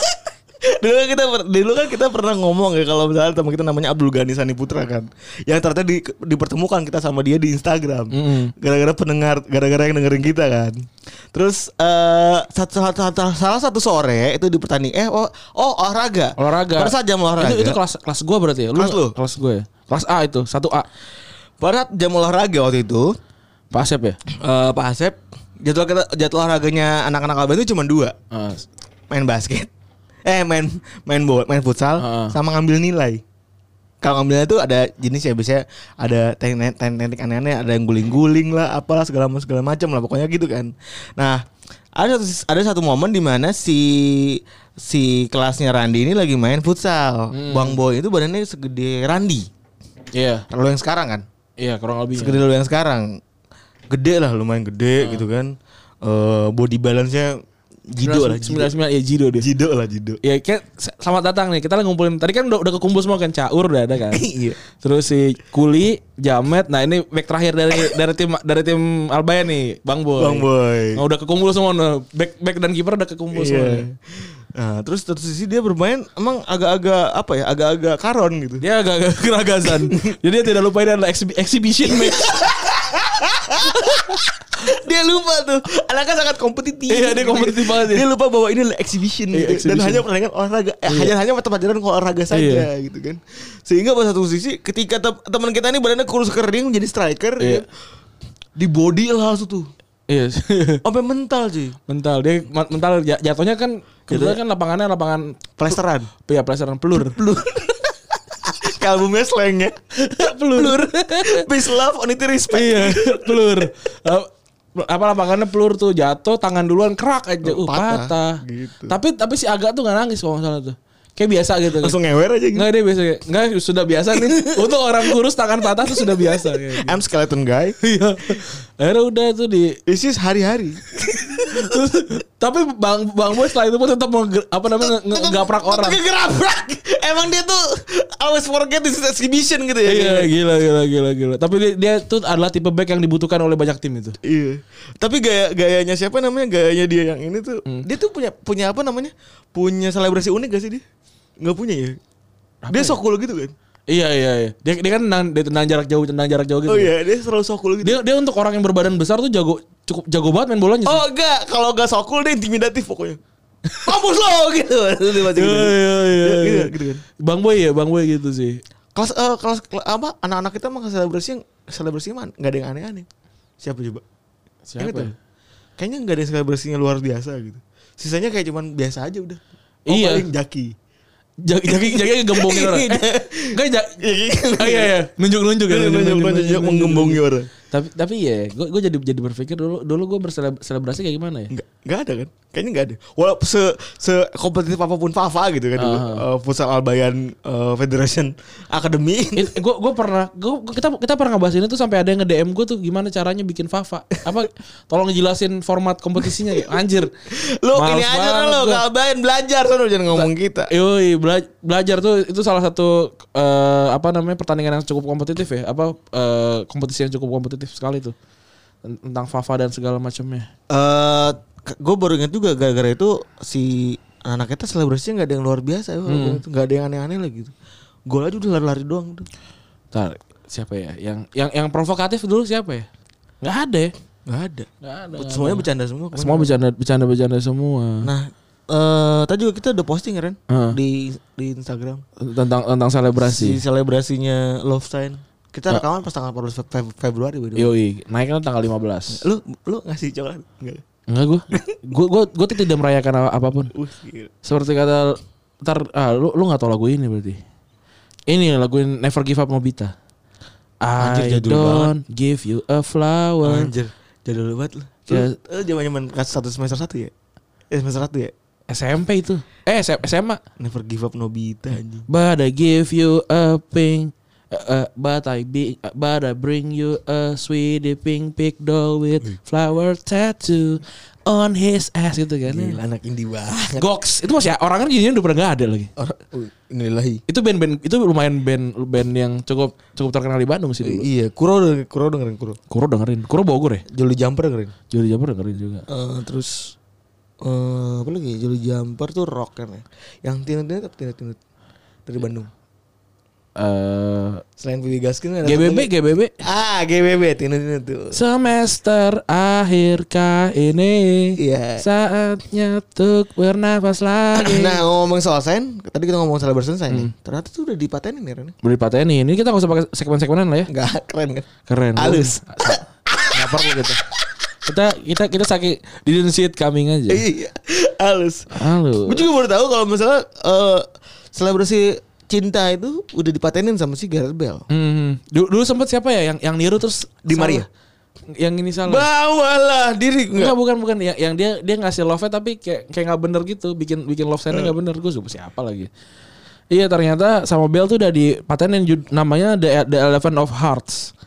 [SPEAKER 3] dulu kan kita per- dulu kan kita pernah ngomong ya kalau misalnya teman kita namanya Abdul Ghani Sani Putra kan yang ternyata di- dipertemukan kita sama dia di Instagram
[SPEAKER 2] Mm-mm.
[SPEAKER 3] gara-gara pendengar gara-gara yang dengerin kita kan terus eh satu, satu, satu- salah satu sore itu di pertandingan eh oh, oh olahraga
[SPEAKER 2] olahraga.
[SPEAKER 3] pada saat jam olahraga
[SPEAKER 2] Itu, itu kelas kelas gue berarti ya.
[SPEAKER 3] Kelas lu?
[SPEAKER 2] Kelas gue ya. Kelas A itu, 1A.
[SPEAKER 3] pada saat jam olahraga waktu itu
[SPEAKER 2] Pak Asep ya?
[SPEAKER 3] eh, Pak Asep jadwal kita jadwal olahraganya anak-anak Alban itu cuma dua
[SPEAKER 2] Ah,
[SPEAKER 3] main basket eh main main bola main futsal
[SPEAKER 2] Heeh.
[SPEAKER 3] sama ngambil nilai kalau ngambil nilai itu ada jenis ya biasanya ada teknik teknik aneh-aneh ada yang guling-guling lah apalah segala macam segala macam lah pokoknya gitu kan nah ada satu ada satu momen di mana si si kelasnya Randi ini lagi main futsal
[SPEAKER 2] Hmm.
[SPEAKER 3] Bang Boy itu badannya segede Randi
[SPEAKER 2] Iya.
[SPEAKER 3] kalau yang sekarang kan
[SPEAKER 2] Iya, kurang lebih.
[SPEAKER 3] segede lu yang sekarang gede lah lumayan gede gitu kan Eh body balance-nya jido lah jido
[SPEAKER 2] 99 ya Jido dia.
[SPEAKER 3] jido lah jido
[SPEAKER 2] Ya kayak s- selamat datang nih. Kita lagi ngumpulin. Tadi kan udah, udah kekumpul semua kan Caur udah ada kan.
[SPEAKER 3] Iya.
[SPEAKER 2] Terus si Kuli, Jamet. Nah, ini back terakhir dari dari tim dari tim Albaya nih, Bang Boy.
[SPEAKER 3] Bang Boy.
[SPEAKER 2] Nah, udah kekumpul semua nih. Back back dan kiper udah kekumpul semua.
[SPEAKER 3] Iya.
[SPEAKER 2] nih.
[SPEAKER 3] Nah, terus satu sisi dia bermain emang agak-agak apa ya? Agak-agak karon gitu.
[SPEAKER 2] Dia agak agak keragasan. Jadi dia tidak lupa ini adalah exhi- exhibition match.
[SPEAKER 3] Dia lupa tuh. Anaknya sangat kompetitif.
[SPEAKER 2] Iya, dia kompetitif banget ya.
[SPEAKER 3] Dia lupa bahwa ini adalah exhibition
[SPEAKER 2] Iya,
[SPEAKER 3] gitu.
[SPEAKER 2] exhibition.
[SPEAKER 3] dan hanya pertandingan olahraga. Eh, hanya hanya mata pelajaran olahraga saja
[SPEAKER 2] Iya.
[SPEAKER 3] gitu kan. Sehingga pada satu sisi ketika te- teman kita ini badannya kurus kering menjadi striker
[SPEAKER 2] Iya.
[SPEAKER 3] ya, di body lah langsung tuh.
[SPEAKER 2] Iya.
[SPEAKER 3] Sampai mental sih.
[SPEAKER 2] mental dia ma- mental ja- jatuhnya kan kebetulan kan lapangannya lapangan
[SPEAKER 3] Plesteran.
[SPEAKER 2] ya pelajaran pelur.
[SPEAKER 3] Pelur. Kalbumnya slang ya. Pelur. Peace love, only respect.
[SPEAKER 2] iya pelur Ap- apa lapangannya pelur tuh jatuh tangan duluan kerak aja uh, patah,
[SPEAKER 3] Patah, gitu.
[SPEAKER 2] tapi tapi si agak tuh nggak nangis kalau nggak salah tuh kayak biasa gitu
[SPEAKER 3] Langsung ngewer aja gitu.
[SPEAKER 2] nggak dia biasa kayak, nggak sudah biasa nih untuk orang kurus tangan patah tuh sudah biasa kayak gitu.
[SPEAKER 3] I'm skeleton guy.
[SPEAKER 2] iya akhirnya udah tuh di
[SPEAKER 3] This is hari-hari.
[SPEAKER 2] tapi bang bang boy setelah itu pun tetap mau nge- apa namanya nge- nge- ngegaprak orang
[SPEAKER 3] Kegerabrak. Emang dia tuh always forget this is exhibition gitu ya.
[SPEAKER 2] iya gila gila gila gila tapi dia, dia tuh adalah tipe back yang dibutuhkan oleh banyak tim itu
[SPEAKER 3] Iya. Tapi gaya gayanya siapa namanya? Gayanya dia yang ini tuh. Dia tuh punya punya apa namanya? Punya selebrasi unik gak sih dia? Gak punya ya. dia sok cool gitu kan.
[SPEAKER 2] iya iya iya dia, dia kan tendang, dia tendang jarak jauh tendang jarak jauh gitu
[SPEAKER 3] Oh iya, dia selalu sok cool gitu.
[SPEAKER 2] Dia dia untuk orang yang berbadan besar tuh jago cukup jago banget main bolanya. sih.
[SPEAKER 3] oh enggak, kalau gak sok cool dia intimidatif pokoknya. mampus lo gitu. Dia masih
[SPEAKER 2] iya,
[SPEAKER 3] gitu.
[SPEAKER 2] iya,
[SPEAKER 3] Gitu,
[SPEAKER 2] iya.
[SPEAKER 3] gitu kan.
[SPEAKER 2] Bang Boy ya, Bang Boy gitu sih.
[SPEAKER 3] Kelas eh, kelas kela- apa anak-anak kita mah selebrasi yang selebrasi mah nggak ada yang aneh-aneh. Siapa coba?
[SPEAKER 2] Siapa?
[SPEAKER 3] Ingat
[SPEAKER 2] ya?
[SPEAKER 3] ya? Kayaknya nggak ada yang selebrasinya luar biasa gitu. Sisanya kayak cuman biasa aja udah. Oh,
[SPEAKER 2] Iya.
[SPEAKER 3] paling jaki.
[SPEAKER 2] Jaki jaki jaki gembongin orang. Enggak ja, Ah, iya iya, nunjuk-nunjuk ya.
[SPEAKER 3] Nunjuk-nunjuk menggembongi orang.
[SPEAKER 2] Tapi tapi ya, gue gue jadi jadi berpikir dulu dulu gue berselebrasi kayak gimana ya?
[SPEAKER 3] Nggak, nggak ada kan? Kayaknya nggak ada. Walaupun se, se kompetitif apapun Fafa gitu kan dulu.
[SPEAKER 2] Aha.
[SPEAKER 3] Eh, Futsal Albayan eh, Federation Academy.
[SPEAKER 2] gue gue pernah gua, gua- kita kita pernah ngebahas ini tuh sampai ada yang nge DM gue tuh gimana caranya bikin Fafa apa tolong jelasin format kompetisinya ya anjir
[SPEAKER 3] Lu
[SPEAKER 2] Males
[SPEAKER 3] ini aja
[SPEAKER 2] banget
[SPEAKER 3] kan lo
[SPEAKER 2] gua.
[SPEAKER 3] ke Albayan belajar sono jangan ngomong kita.
[SPEAKER 2] Yoi, bela- belajar tuh itu salah satu eh, apa namanya pertandingan yang cukup kompetitif ya apa eh, kompetisi yang cukup kompetitif sekali tuh Tent- tentang Fafa dan segala macamnya
[SPEAKER 3] Eh
[SPEAKER 4] gue baru ingat juga gara-gara itu si anak kita selebrasinya nggak ada yang luar biasa ya walaupun itu nggak ada yang aneh-aneh lagi gitu gol aja udah lari-lari doang udah.
[SPEAKER 2] Bentar, siapa ya yang yang yang provokatif dulu siapa ya nggak ada ya
[SPEAKER 3] nggak ada.
[SPEAKER 2] nggak ada
[SPEAKER 3] Semuanya bercanda semua. kemarin.
[SPEAKER 2] semua bercanda bercanda bercanda semua
[SPEAKER 4] nah eh tadi juga kita udah posting kan Ren?
[SPEAKER 2] Heeh.
[SPEAKER 4] di di Instagram
[SPEAKER 2] tentang tentang
[SPEAKER 4] si
[SPEAKER 2] selebrasi
[SPEAKER 4] selebrasinya love sign kita rekaman pas tanggal 14 Fe- Fe- Februari by the way.
[SPEAKER 2] Yoi, naiknya tanggal 15
[SPEAKER 3] Lu lu ngasih coklat enggak?
[SPEAKER 2] Enggak gue Gue gue gue tuh tidak merayakan apa- apapun
[SPEAKER 3] Uh, gila.
[SPEAKER 2] Seperti kata Ntar ah, lu, lu gak tau lagu ini berarti Ini lagu Never Give Up Nobita I
[SPEAKER 3] Anjir, jadul
[SPEAKER 2] don't give you a flower
[SPEAKER 3] Anjir, jadul banget lu.
[SPEAKER 2] Ya.
[SPEAKER 3] Lu zaman-zaman kelas satu semester satu ya? Eh semester satu ya?
[SPEAKER 2] SMP itu Eh S- SMA
[SPEAKER 3] Never give up Nobita anjing.
[SPEAKER 2] But I give you a pink uh, uh, but I be, uh, but I bring you a sweetie pink pig doll with flower tattoo on his ass gitu kan.
[SPEAKER 3] Gila anak indie banget.
[SPEAKER 2] Goks itu masih orangnya jadinya udah pernah nggak ada lagi.
[SPEAKER 3] Orang uh, nilai.
[SPEAKER 2] itu band-band itu lumayan band band yang cukup cukup terkenal di Bandung sih dulu.
[SPEAKER 3] Iya, Kuro denger- Kuro dengerin Kuro.
[SPEAKER 2] Kuro dengerin, Kuro Bogor ya.
[SPEAKER 3] Jolly Jumper dengerin.
[SPEAKER 2] Jody Jabber dengerin juga.
[SPEAKER 3] Eh terus
[SPEAKER 4] Eh, apa
[SPEAKER 3] ya?
[SPEAKER 4] lagi juli jumper tuh rock kan ya yang tinut tinut apa tinut tinut
[SPEAKER 3] dari Bandung.
[SPEAKER 2] Eh
[SPEAKER 3] Selain Vivi Gaskin ada
[SPEAKER 2] GBB
[SPEAKER 3] satu lagi.
[SPEAKER 2] GBB
[SPEAKER 3] Ah, GBB tinut tinut tuh.
[SPEAKER 2] semester akhir kah ini
[SPEAKER 3] Iya.
[SPEAKER 2] saatnya untuk bernafas lagi.
[SPEAKER 3] Nah, ngomong soal sign, tadi kita ngomong soal bersen sign nih. Ternyata tuh udah dipatenin ya Ren.
[SPEAKER 2] Beri pateni ini kita nggak usah pakai segmen-segmenan lah ya.
[SPEAKER 3] Enggak keren kan?
[SPEAKER 2] Keren.
[SPEAKER 3] Halus.
[SPEAKER 2] Nggak perlu gitu. Kita kita kita sakit di shit coming aja.
[SPEAKER 3] Iya, halus.
[SPEAKER 2] Halo.
[SPEAKER 3] Gue juga baru tahu kalau misalnya eh selebrasi cinta itu udah dipatenin sama si Gareth Bale.
[SPEAKER 2] Hmm. Dulu, dulu sempat siapa ya yang yang niru terus
[SPEAKER 3] Di Maria.
[SPEAKER 2] salah. Yang ini salah.
[SPEAKER 3] Bawalah diri
[SPEAKER 2] Enggak bukan bukan yang, yang dia dia ngasih love tapi kayak kayak nggak bener gitu bikin bikin love
[SPEAKER 3] Eh.
[SPEAKER 2] sign-nya nggak bener gue sumpah siapa lagi iya ternyata sama Bell tuh udah di patenin jud- namanya the, the Eleven of Hearts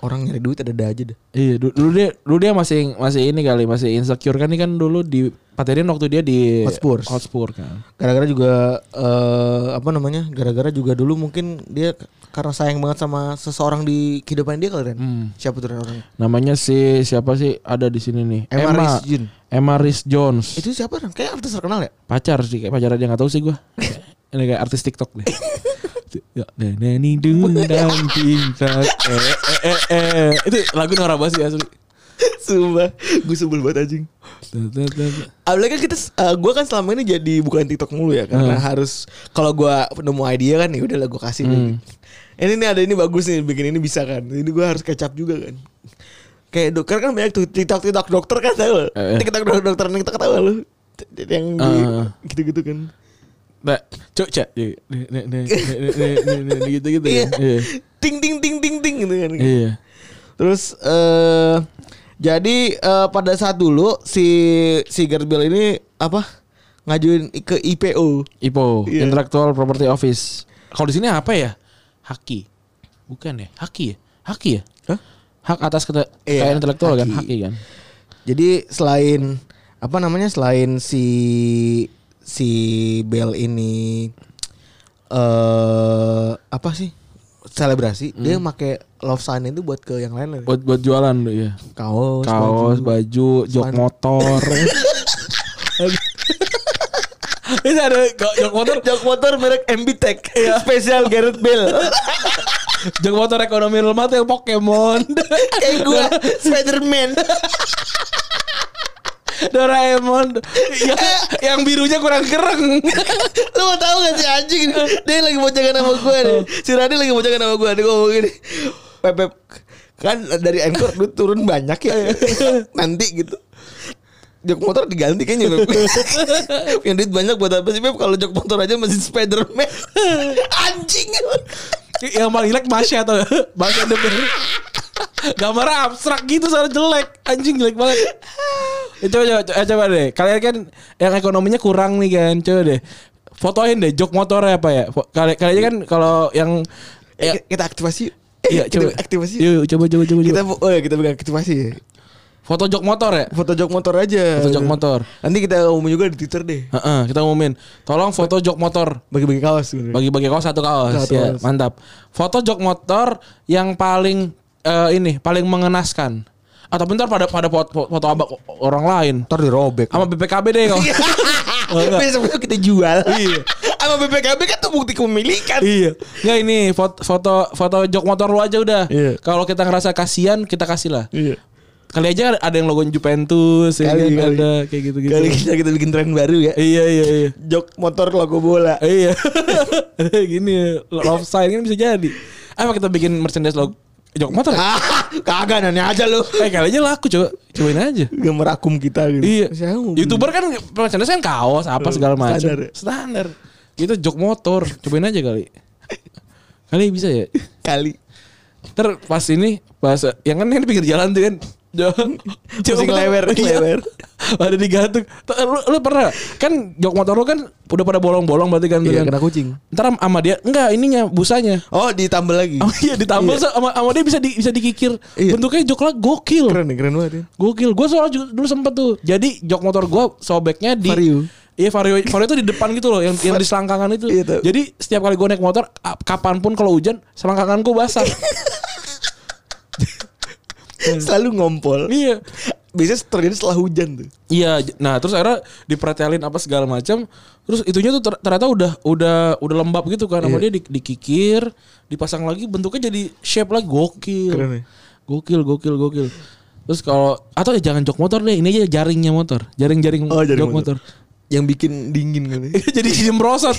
[SPEAKER 3] Orang nyari duit ada ada aja deh.
[SPEAKER 2] iya du- dulu dia dulu dia masih masih ini kali masih insecure kan ini kan dulu di patenin waktu dia di
[SPEAKER 3] Hotspurs.
[SPEAKER 2] Hotspur kan
[SPEAKER 3] Gara-gara juga eh apa namanya? Gara-gara juga dulu mungkin dia karena sayang banget sama seseorang di kehidupan dia kali Ren. Siapa tuh Ren orangnya?
[SPEAKER 2] namanya si siapa sih ada di sini nih
[SPEAKER 3] Emma Rizjun.
[SPEAKER 2] Emma Riz Jones
[SPEAKER 3] Itu siapa Ren? Kayak artis terkenal ya?
[SPEAKER 2] pacar sih kayak pacar aja nggak tahu sih gue ini kayak artis TikTok deh Ya, neneni dundang pintar eh, eh, eh, eh. itu lagu Nora Basi asli
[SPEAKER 3] Sumpah, gue sebel banget anjing. Apalagi kan kita, eh, gue kan selama ini jadi bukan TikTok mulu ya, karena
[SPEAKER 2] Hmm.
[SPEAKER 3] harus kalau gue nemu idea kan ya udahlah gue kasih.
[SPEAKER 2] Hmm.
[SPEAKER 3] nih. Ini nih ada ini bagus nih, bikin ini bisa kan. Ini gue harus kecap juga kan. Kayak dokter kan banyak tuh TikTok TikTok dokter kan tahu. lo.
[SPEAKER 2] Eh, eh.
[SPEAKER 3] TikTok dok- dokter nih kita ketawa lu. Yang di,
[SPEAKER 2] Ah.
[SPEAKER 3] gitu-gitu kan.
[SPEAKER 2] Nah, cuk cak gitu gitu ya. Iya.
[SPEAKER 3] Ting ting ting ting ting gitu kan.
[SPEAKER 2] Iya.
[SPEAKER 3] Terus eh jadi eh, pada saat dulu si si Gareth Bale ini apa ngajuin ke IPO.
[SPEAKER 2] Ipo,
[SPEAKER 3] Iya.
[SPEAKER 2] Intellectual Property Office. Kalau di sini apa ya? Haki. Bukan ya? Haki ya? Haki ya?
[SPEAKER 3] Hah?
[SPEAKER 2] Hak atas kata
[SPEAKER 3] Iya,
[SPEAKER 2] kekayaan intelektual kan?
[SPEAKER 3] haki.
[SPEAKER 2] Haki kan?
[SPEAKER 3] Jadi selain apa namanya selain si si Bell ini eh apa sih selebrasi dia pakai love sign itu buat ke yang lain
[SPEAKER 2] Hmm. Buat buat jualan tuh ya.
[SPEAKER 3] kaos
[SPEAKER 2] kaos baju, jok
[SPEAKER 3] Span-
[SPEAKER 2] motor ini ada ko- jok motor
[SPEAKER 3] jok motor merek MBTech spesial Gareth Bale
[SPEAKER 2] jok motor ekonomi lemah tuh yang
[SPEAKER 4] Eh,
[SPEAKER 2] Pokemon
[SPEAKER 3] kayak gue Spiderman
[SPEAKER 2] Doraemon yang, yang birunya kurang kereng.
[SPEAKER 4] Lu mau tahu gak sih anjing ini? Dia lagi bocakan nama gue nih.
[SPEAKER 2] Oh.
[SPEAKER 4] Si Radi lagi bocakan nama gue. Dia ngomong gini. Pepep. Kan dari anchor lu turun banyak ya. Nanti gitu. Jok motor diganti kayaknya Pep. Yang duit banyak buat apa sih Pep? Kalau jok motor aja masih Spiderman. anjing.
[SPEAKER 2] yang paling jelek Masya atau Masya denger. Gambar abstrak gitu soalnya jelek. Anjing jelek banget. Ya, coba, coba, coba, coba deh. Kalian kan yang ekonominya kurang nih kan. Coba deh. Fotoin deh jok motornya apa ya. Fo- Kalian, kalian kan kalau yang
[SPEAKER 3] Eh, kita aktivasi. yuk. Eh,
[SPEAKER 2] Iya,
[SPEAKER 3] kita
[SPEAKER 2] Ya. coba.
[SPEAKER 3] aktivasi. yuk.
[SPEAKER 2] Yuk, coba coba coba.
[SPEAKER 3] Kita
[SPEAKER 2] coba.
[SPEAKER 3] oh ya, kita bikin aktivasi. ya.
[SPEAKER 2] Foto jok motor ya?
[SPEAKER 3] Foto jok motor aja.
[SPEAKER 2] Foto jok motor.
[SPEAKER 3] Nanti kita umum juga di Twitter deh.
[SPEAKER 2] Heeh, kita ngumumin. Tolong foto jok motor.
[SPEAKER 3] Bagi-bagi kaos gitu.
[SPEAKER 2] Bagi-bagi kaos satu kaos.
[SPEAKER 3] Satu
[SPEAKER 2] ya,
[SPEAKER 3] kaos.
[SPEAKER 2] mantap. Foto jok motor yang paling eh, ini paling mengenaskan. Atau bentar pada pada foto, foto abak orang lain.
[SPEAKER 3] Ntar dirobek.
[SPEAKER 2] Sama BPKB deh kalau.
[SPEAKER 3] Iya.
[SPEAKER 2] Oh, enggak.
[SPEAKER 3] Besok besok kita jual. Iya. Sama BPKB kan tuh bukti kepemilikan.
[SPEAKER 2] iya. Enggak ini foto foto foto jok motor lu aja udah.
[SPEAKER 3] Iya.
[SPEAKER 2] Kalau kita ngerasa kasihan, kita kasih lah.
[SPEAKER 3] Iya.
[SPEAKER 2] Kali aja ada yang logo Juventus, ya
[SPEAKER 3] Kali,
[SPEAKER 2] kan,
[SPEAKER 3] kali.
[SPEAKER 2] ada kayak gitu-gitu.
[SPEAKER 3] Kali kita, kita bikin tren baru ya.
[SPEAKER 2] Iya iya iya.
[SPEAKER 3] Jok motor logo bola.
[SPEAKER 2] Iya. Gini ya, love sign kan bisa jadi. Apa kita bikin merchandise log jok motor? ya?
[SPEAKER 3] Ah, kagak nanya aja lu.
[SPEAKER 2] Eh kali aja laku coba cobain aja.
[SPEAKER 3] Gambar akum kita gitu.
[SPEAKER 2] Iya.
[SPEAKER 3] Siapa mau beli?
[SPEAKER 2] Youtuber kan merchandise kan kaos apa segala macam.
[SPEAKER 3] standar ya?
[SPEAKER 2] Standar. Kita jok motor, cobain aja kali. Kali bisa ya.
[SPEAKER 3] kali.
[SPEAKER 2] Ntar pas ini pas yang kan ini pinggir jalan tuh kan. Jok- jok
[SPEAKER 3] Pusing
[SPEAKER 2] motor.
[SPEAKER 3] lewer,
[SPEAKER 2] Iya.
[SPEAKER 3] lewer.
[SPEAKER 2] Ada digantung. Tuh, Lu, lu pernah kan jok motor lu kan udah pada bolong-bolong berarti kan. tuh
[SPEAKER 3] Iya,
[SPEAKER 2] kan.
[SPEAKER 3] kena kucing.
[SPEAKER 2] Ntar sama dia enggak ininya busanya.
[SPEAKER 3] Oh, ditambah lagi.
[SPEAKER 2] Oh iya ditambal sama, sama dia bisa di, bisa dikikir.
[SPEAKER 3] Iya.
[SPEAKER 2] Bentuknya joklat gokil.
[SPEAKER 3] Keren nih, keren banget ya.
[SPEAKER 2] Gokil. Gue soalnya juga dulu sempet tuh. Jadi jok motor gue sobeknya di
[SPEAKER 3] Vario.
[SPEAKER 2] Iya vario vario itu di depan gitu loh yang yang di selangkangan itu.
[SPEAKER 3] Iya, tau.
[SPEAKER 2] Jadi setiap kali gue naik motor a- kapanpun kalau hujan selangkangan gue basah.
[SPEAKER 3] Selalu ngompol.
[SPEAKER 2] iya.
[SPEAKER 3] Biasanya terjadi setelah hujan tuh.
[SPEAKER 2] Iya, j- nah terus akhirnya dipretelin apa segala macam. Terus itunya tuh ter- ternyata udah udah udah lembab gitu kan.
[SPEAKER 3] Iya.
[SPEAKER 2] Sama dia di- dikikir, dipasang lagi bentuknya jadi shape lagi gokil.
[SPEAKER 3] Keren ya?
[SPEAKER 2] Gokil, gokil, gokil. Terus kalau atau ya jangan jok motor deh, ini aja jaringnya motor. Jaring-jaring
[SPEAKER 3] Oh, jaring
[SPEAKER 2] jok motor.
[SPEAKER 3] Yang bikin dingin kan ya. kali.
[SPEAKER 2] jadi jadi merosot.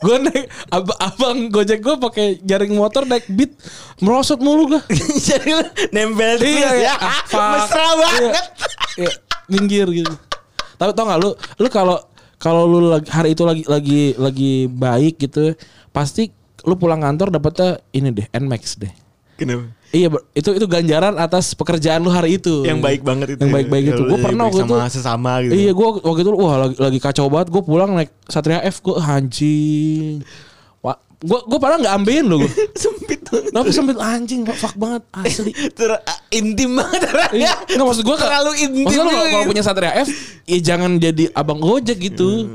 [SPEAKER 2] gue naik ab- abang Gojek gue pakai jaring motor naik beat merosot mulu gue.
[SPEAKER 3] Jadi lu nempel terus
[SPEAKER 2] Iya, iya.
[SPEAKER 3] ya.
[SPEAKER 2] Ah, fuck.
[SPEAKER 3] Mesra
[SPEAKER 2] Iya.
[SPEAKER 3] banget.
[SPEAKER 2] Iya, minggir gitu. Tapi tau gak lu, lu kalau kalau lu lagi, hari itu lagi lagi lagi baik gitu, pasti lu pulang kantor dapetnya ini deh, Nmax deh.
[SPEAKER 3] Kenapa?
[SPEAKER 2] Iya, ber- itu itu ganjaran atas pekerjaan lu hari itu.
[SPEAKER 3] Yang baik banget itu.
[SPEAKER 2] Yang baik-baik
[SPEAKER 3] Ya,
[SPEAKER 2] itu.
[SPEAKER 3] lu
[SPEAKER 2] Gue
[SPEAKER 3] jadi
[SPEAKER 2] pernah
[SPEAKER 3] baik
[SPEAKER 2] waktu itu
[SPEAKER 3] Hmm. sama sesama gitu.
[SPEAKER 2] Iya, gue waktu itu wah lagi, lagi kacau banget. Gue pulang naik Satria F, gue anjing. Wah, gue gue pernah nggak ambilin lo gue.
[SPEAKER 3] sempit banget.
[SPEAKER 2] Tapi sambil "Ah, anjing, fuck banget asli.
[SPEAKER 3] Ter ah, intim banget
[SPEAKER 2] Iya,
[SPEAKER 3] orangnya.
[SPEAKER 2] enggak maksud gua
[SPEAKER 3] terlalu intim.
[SPEAKER 2] Maksud lu
[SPEAKER 3] juga
[SPEAKER 2] kalau, kalau
[SPEAKER 3] gitu.
[SPEAKER 2] punya Satria F, ya jangan jadi abang Gojek gitu.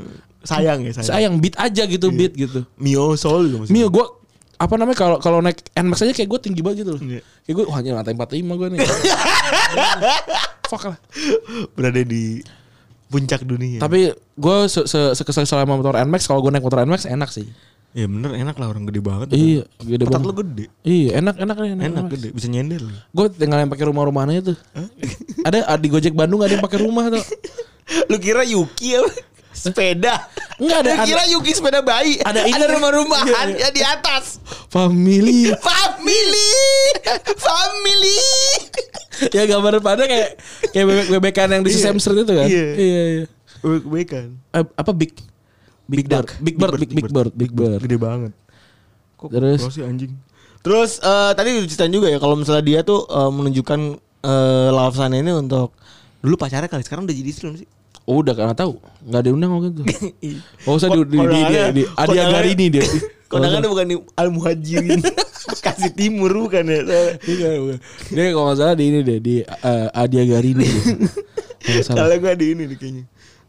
[SPEAKER 3] sayang ya sayang.
[SPEAKER 2] Sayang beat aja gitu,
[SPEAKER 3] Iya.
[SPEAKER 2] beat gitu.
[SPEAKER 3] Mio Soul juga maksudnya.
[SPEAKER 2] Mio gua apa namanya kalau kalau naik Nmax aja kayak gue tinggi banget gitu loh.
[SPEAKER 3] Iya.
[SPEAKER 2] Kayak gue wah anjing lantai 45 gue nih. Fuck lah.
[SPEAKER 3] berada di puncak dunia.
[SPEAKER 2] Tapi gue se se- sekesel sama motor Nmax kalau gue naik motor Nmax enak sih.
[SPEAKER 3] ya bener enak lah orang gede banget.
[SPEAKER 2] Iya, gede
[SPEAKER 3] Petak
[SPEAKER 2] banget.
[SPEAKER 3] lu gede.
[SPEAKER 2] Iya, enak enak nih.
[SPEAKER 3] Enak gede, bisa nyender lu.
[SPEAKER 2] Gue tinggal yang pakai rumah-rumahnya itu. ada di Gojek Bandung ada yang pakai rumah tuh.
[SPEAKER 3] Lu kira Yuki apa? Sepeda.
[SPEAKER 2] Enggak, ada-
[SPEAKER 3] Lu kira Yuki sepeda bayi.
[SPEAKER 2] Ada ini.
[SPEAKER 3] rumah-rumahan
[SPEAKER 2] Iya,
[SPEAKER 3] ya di atas.
[SPEAKER 2] Family.
[SPEAKER 3] Family. Family.
[SPEAKER 2] ya gambar pada kayak kayak bebek bebekan yang di
[SPEAKER 3] Iya.
[SPEAKER 2] Sesame Street itu kan.
[SPEAKER 3] Iya.
[SPEAKER 2] iya. iya.
[SPEAKER 3] Kebaikan.
[SPEAKER 2] Eh, apa big Big, Bird. Big Bird, Big, Big Bird, Big Bird.
[SPEAKER 3] Gede banget. Kok
[SPEAKER 2] Terus?
[SPEAKER 3] bro sih anjing. Terus eh, tadi diceritain juga ya kalau misalnya dia tuh eh, menunjukkan eh love sign ini untuk dulu pacarnya kali sekarang udah jadi istri belum sih?
[SPEAKER 2] Oh, udah nggak tahu, nggak diundang waktu itu. Oh, usah di di di, di, di
[SPEAKER 3] Kondangannya-
[SPEAKER 2] Adi
[SPEAKER 3] kondangannya-
[SPEAKER 2] Agarini dia.
[SPEAKER 3] Kondangannya bukan di Al Muhajirin. Bekasi Timur bukan ya.
[SPEAKER 2] Iya, bukan. Dia kalau nggak salah di ini deh di eh, Adi Agarini. dia. Kalau nggak salah.
[SPEAKER 3] Kalau gue di ini nih kayaknya.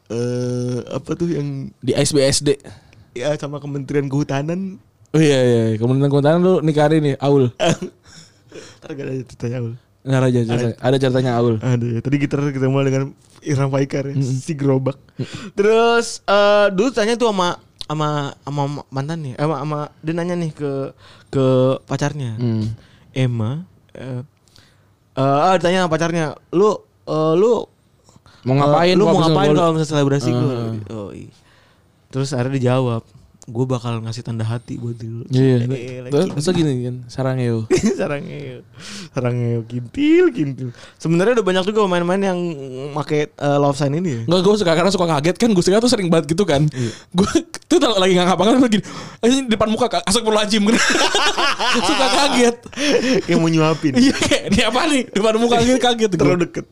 [SPEAKER 3] Eh apa tuh yang
[SPEAKER 2] Di SBSD.
[SPEAKER 3] ya sama Kementerian Kehutanan
[SPEAKER 2] Oh iya iya, kemudian kemudian lu nikahin nih Aul.
[SPEAKER 3] Ntar gak ada ceritanya Ul.
[SPEAKER 2] Nah, aja ceritanya. Ada ceritanya Aul.
[SPEAKER 3] Ada ya. Tadi kita ketemu dengan Irfan Faikar ya, si gerobak. Terus eh dulu tanya tuh sama sama sama mantan nih, sama, sama dia nanya nih ke ke pacarnya.
[SPEAKER 2] Mm. Hmm.
[SPEAKER 3] Emma eh eh, ah, ditanya sama pacarnya, "Lu eh, lu
[SPEAKER 2] Mau ngapain
[SPEAKER 3] Eh,
[SPEAKER 2] kalau
[SPEAKER 3] lu mau
[SPEAKER 2] abis
[SPEAKER 3] ngapain
[SPEAKER 2] ngobrol?
[SPEAKER 3] kalau misalnya selebrasi gue?
[SPEAKER 2] Heeh.
[SPEAKER 3] Oh, iya. Terus akhirnya dijawab, gue bakal ngasih tanda hati buat lu.
[SPEAKER 2] Iya.
[SPEAKER 3] Ini
[SPEAKER 2] Terus
[SPEAKER 3] lagi.
[SPEAKER 2] masa gini kan sarang yo.
[SPEAKER 3] Sarangeo. Sarangeo kintil kintil. Sebenarnya udah banyak juga pemain-pemain yang make eh, love sign ini ya.
[SPEAKER 2] Enggak gue suka karena suka kaget kan gue suka tuh sering banget gitu kan. Gue tuh kalau lagi nggak ngapa-ngapain tuh gini. "Eh, Ini depan muka Kak. asal perlu ajim kan. suka kaget.
[SPEAKER 3] Kayak mau nyuapin.
[SPEAKER 2] Iya kayak ini apa nih depan muka gitu kaget gua.
[SPEAKER 3] Terlalu deket.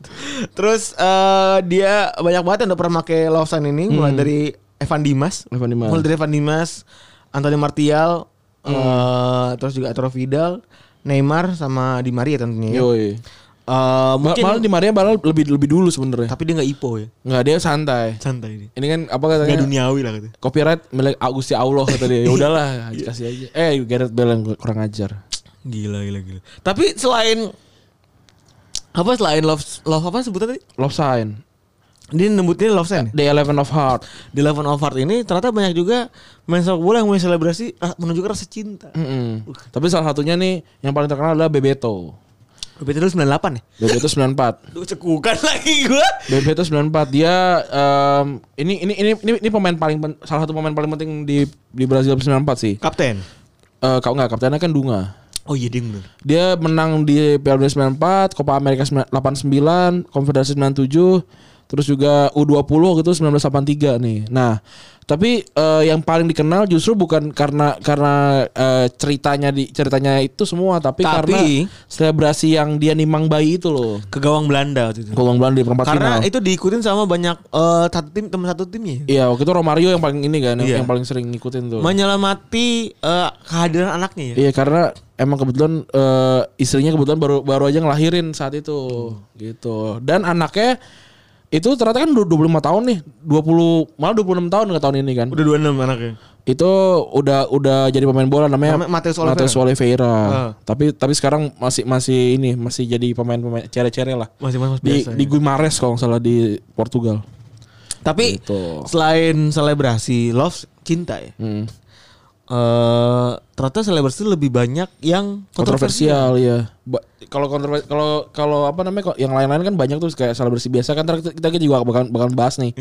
[SPEAKER 3] Terus eh, dia banyak banget yang udah pernah make love sign ini mulai dari Evan Dimas,
[SPEAKER 2] Hmm. Evan Dimas. Hmm.
[SPEAKER 3] mulai dari Evan Dimas, Anthony Martial, eh, terus juga Arturo Vidal, Neymar sama Di Maria tentunya. ya.
[SPEAKER 2] Yoi.
[SPEAKER 3] Eh,
[SPEAKER 2] Mungkin, Malah di Maria Baral lebih lebih dulu sebenarnya.
[SPEAKER 3] tapi dia nggak ipo ya,
[SPEAKER 2] Nggak dia santai.
[SPEAKER 3] santai ini.
[SPEAKER 2] Ini kan apa
[SPEAKER 3] Nggak
[SPEAKER 2] katanya?
[SPEAKER 3] duniawi lah katanya.
[SPEAKER 2] Copyright milik Agusti Allah kata dia. Ya udahlah, kasih aja. Eh, Gareth Bale yang kurang ajar.
[SPEAKER 3] Gila gila gila. Tapi selain apa selain love love apa sebutan tadi?
[SPEAKER 2] Love sign.
[SPEAKER 3] Dia nembutin love sign. ya?
[SPEAKER 2] The Eleven of Heart.
[SPEAKER 3] Di Eleven of Heart ini ternyata banyak juga main sepak bola yang mulai selebrasi ah, menunjukkan rasa cinta.
[SPEAKER 2] Mm-mm. Tapi salah satunya nih yang paling terkenal adalah Bebeto.
[SPEAKER 3] BPT dulu 98 ya?
[SPEAKER 2] Bebeto 94.
[SPEAKER 3] Duh cekukan lagi gua.
[SPEAKER 2] Bebeto 94 dia em, ini, ini ini ini ini pemain paling pen- salah satu pemain paling penting di di Brazil 94 sih.
[SPEAKER 3] Kapten.
[SPEAKER 2] Eh kalau nggak kaptennya kan Dunga.
[SPEAKER 3] Oh iya dia yang bener.
[SPEAKER 2] Dia menang di Piala Dunia 94, Copa America 9- 89, Konfederasi 97, terus juga U20 gitu 1983 nih. Nah, tapi eh, yang paling dikenal justru bukan karena karena eh, ceritanya di ceritanya itu semua, tapi,
[SPEAKER 3] Tapi-
[SPEAKER 2] karena selebrasi yang dia nimang bayi itu loh.
[SPEAKER 3] Ke gawang Belanda waktu itu.
[SPEAKER 2] Gawang Belanda di perempat final.
[SPEAKER 3] Karena itu diikutin sama banyak eh, satu tim ya? teman satu timnya.
[SPEAKER 2] Iya, waktu itu Romario yang paling ini kan, yang-
[SPEAKER 3] Iya.
[SPEAKER 2] yang paling sering ngikutin tuh.
[SPEAKER 3] Menyelamati eh, kehadiran anaknya ya.
[SPEAKER 2] Iya karena emang kebetulan eh, istrinya kebetulan baru baru aja ngelahirin saat itu
[SPEAKER 3] Hmm.
[SPEAKER 2] gitu. Dan anaknya itu ternyata kan udah 25 tahun nih, 20 malah 26 tahun ke tahun ini kan.
[SPEAKER 3] Udah 26 anaknya.
[SPEAKER 2] Itu udah udah jadi pemain bola namanya
[SPEAKER 3] Namanya Mateus Oliveira.
[SPEAKER 2] Mateus Oliveira.
[SPEAKER 3] Ah.
[SPEAKER 2] Tapi tapi sekarang masih masih ini masih jadi pemain-pemain cere-cere lah.
[SPEAKER 3] Masih mas
[SPEAKER 2] Di
[SPEAKER 3] biasa.
[SPEAKER 2] di
[SPEAKER 3] ya.
[SPEAKER 2] Guimares kalau nggak salah di Portugal.
[SPEAKER 3] Tapi
[SPEAKER 2] Gitu.
[SPEAKER 3] selain selebrasi love cinta ya.
[SPEAKER 2] Hmm.
[SPEAKER 3] eh ternyata selebrasi lebih banyak yang kontroversial.
[SPEAKER 2] kontroversial ya. Ba- Kalau kontrover- kalau kalau apa namanya kok- yang lain-lain kan banyak tuh kayak salah bersih biasa kan ntar kita, kita juga bakal bakal bahas nih.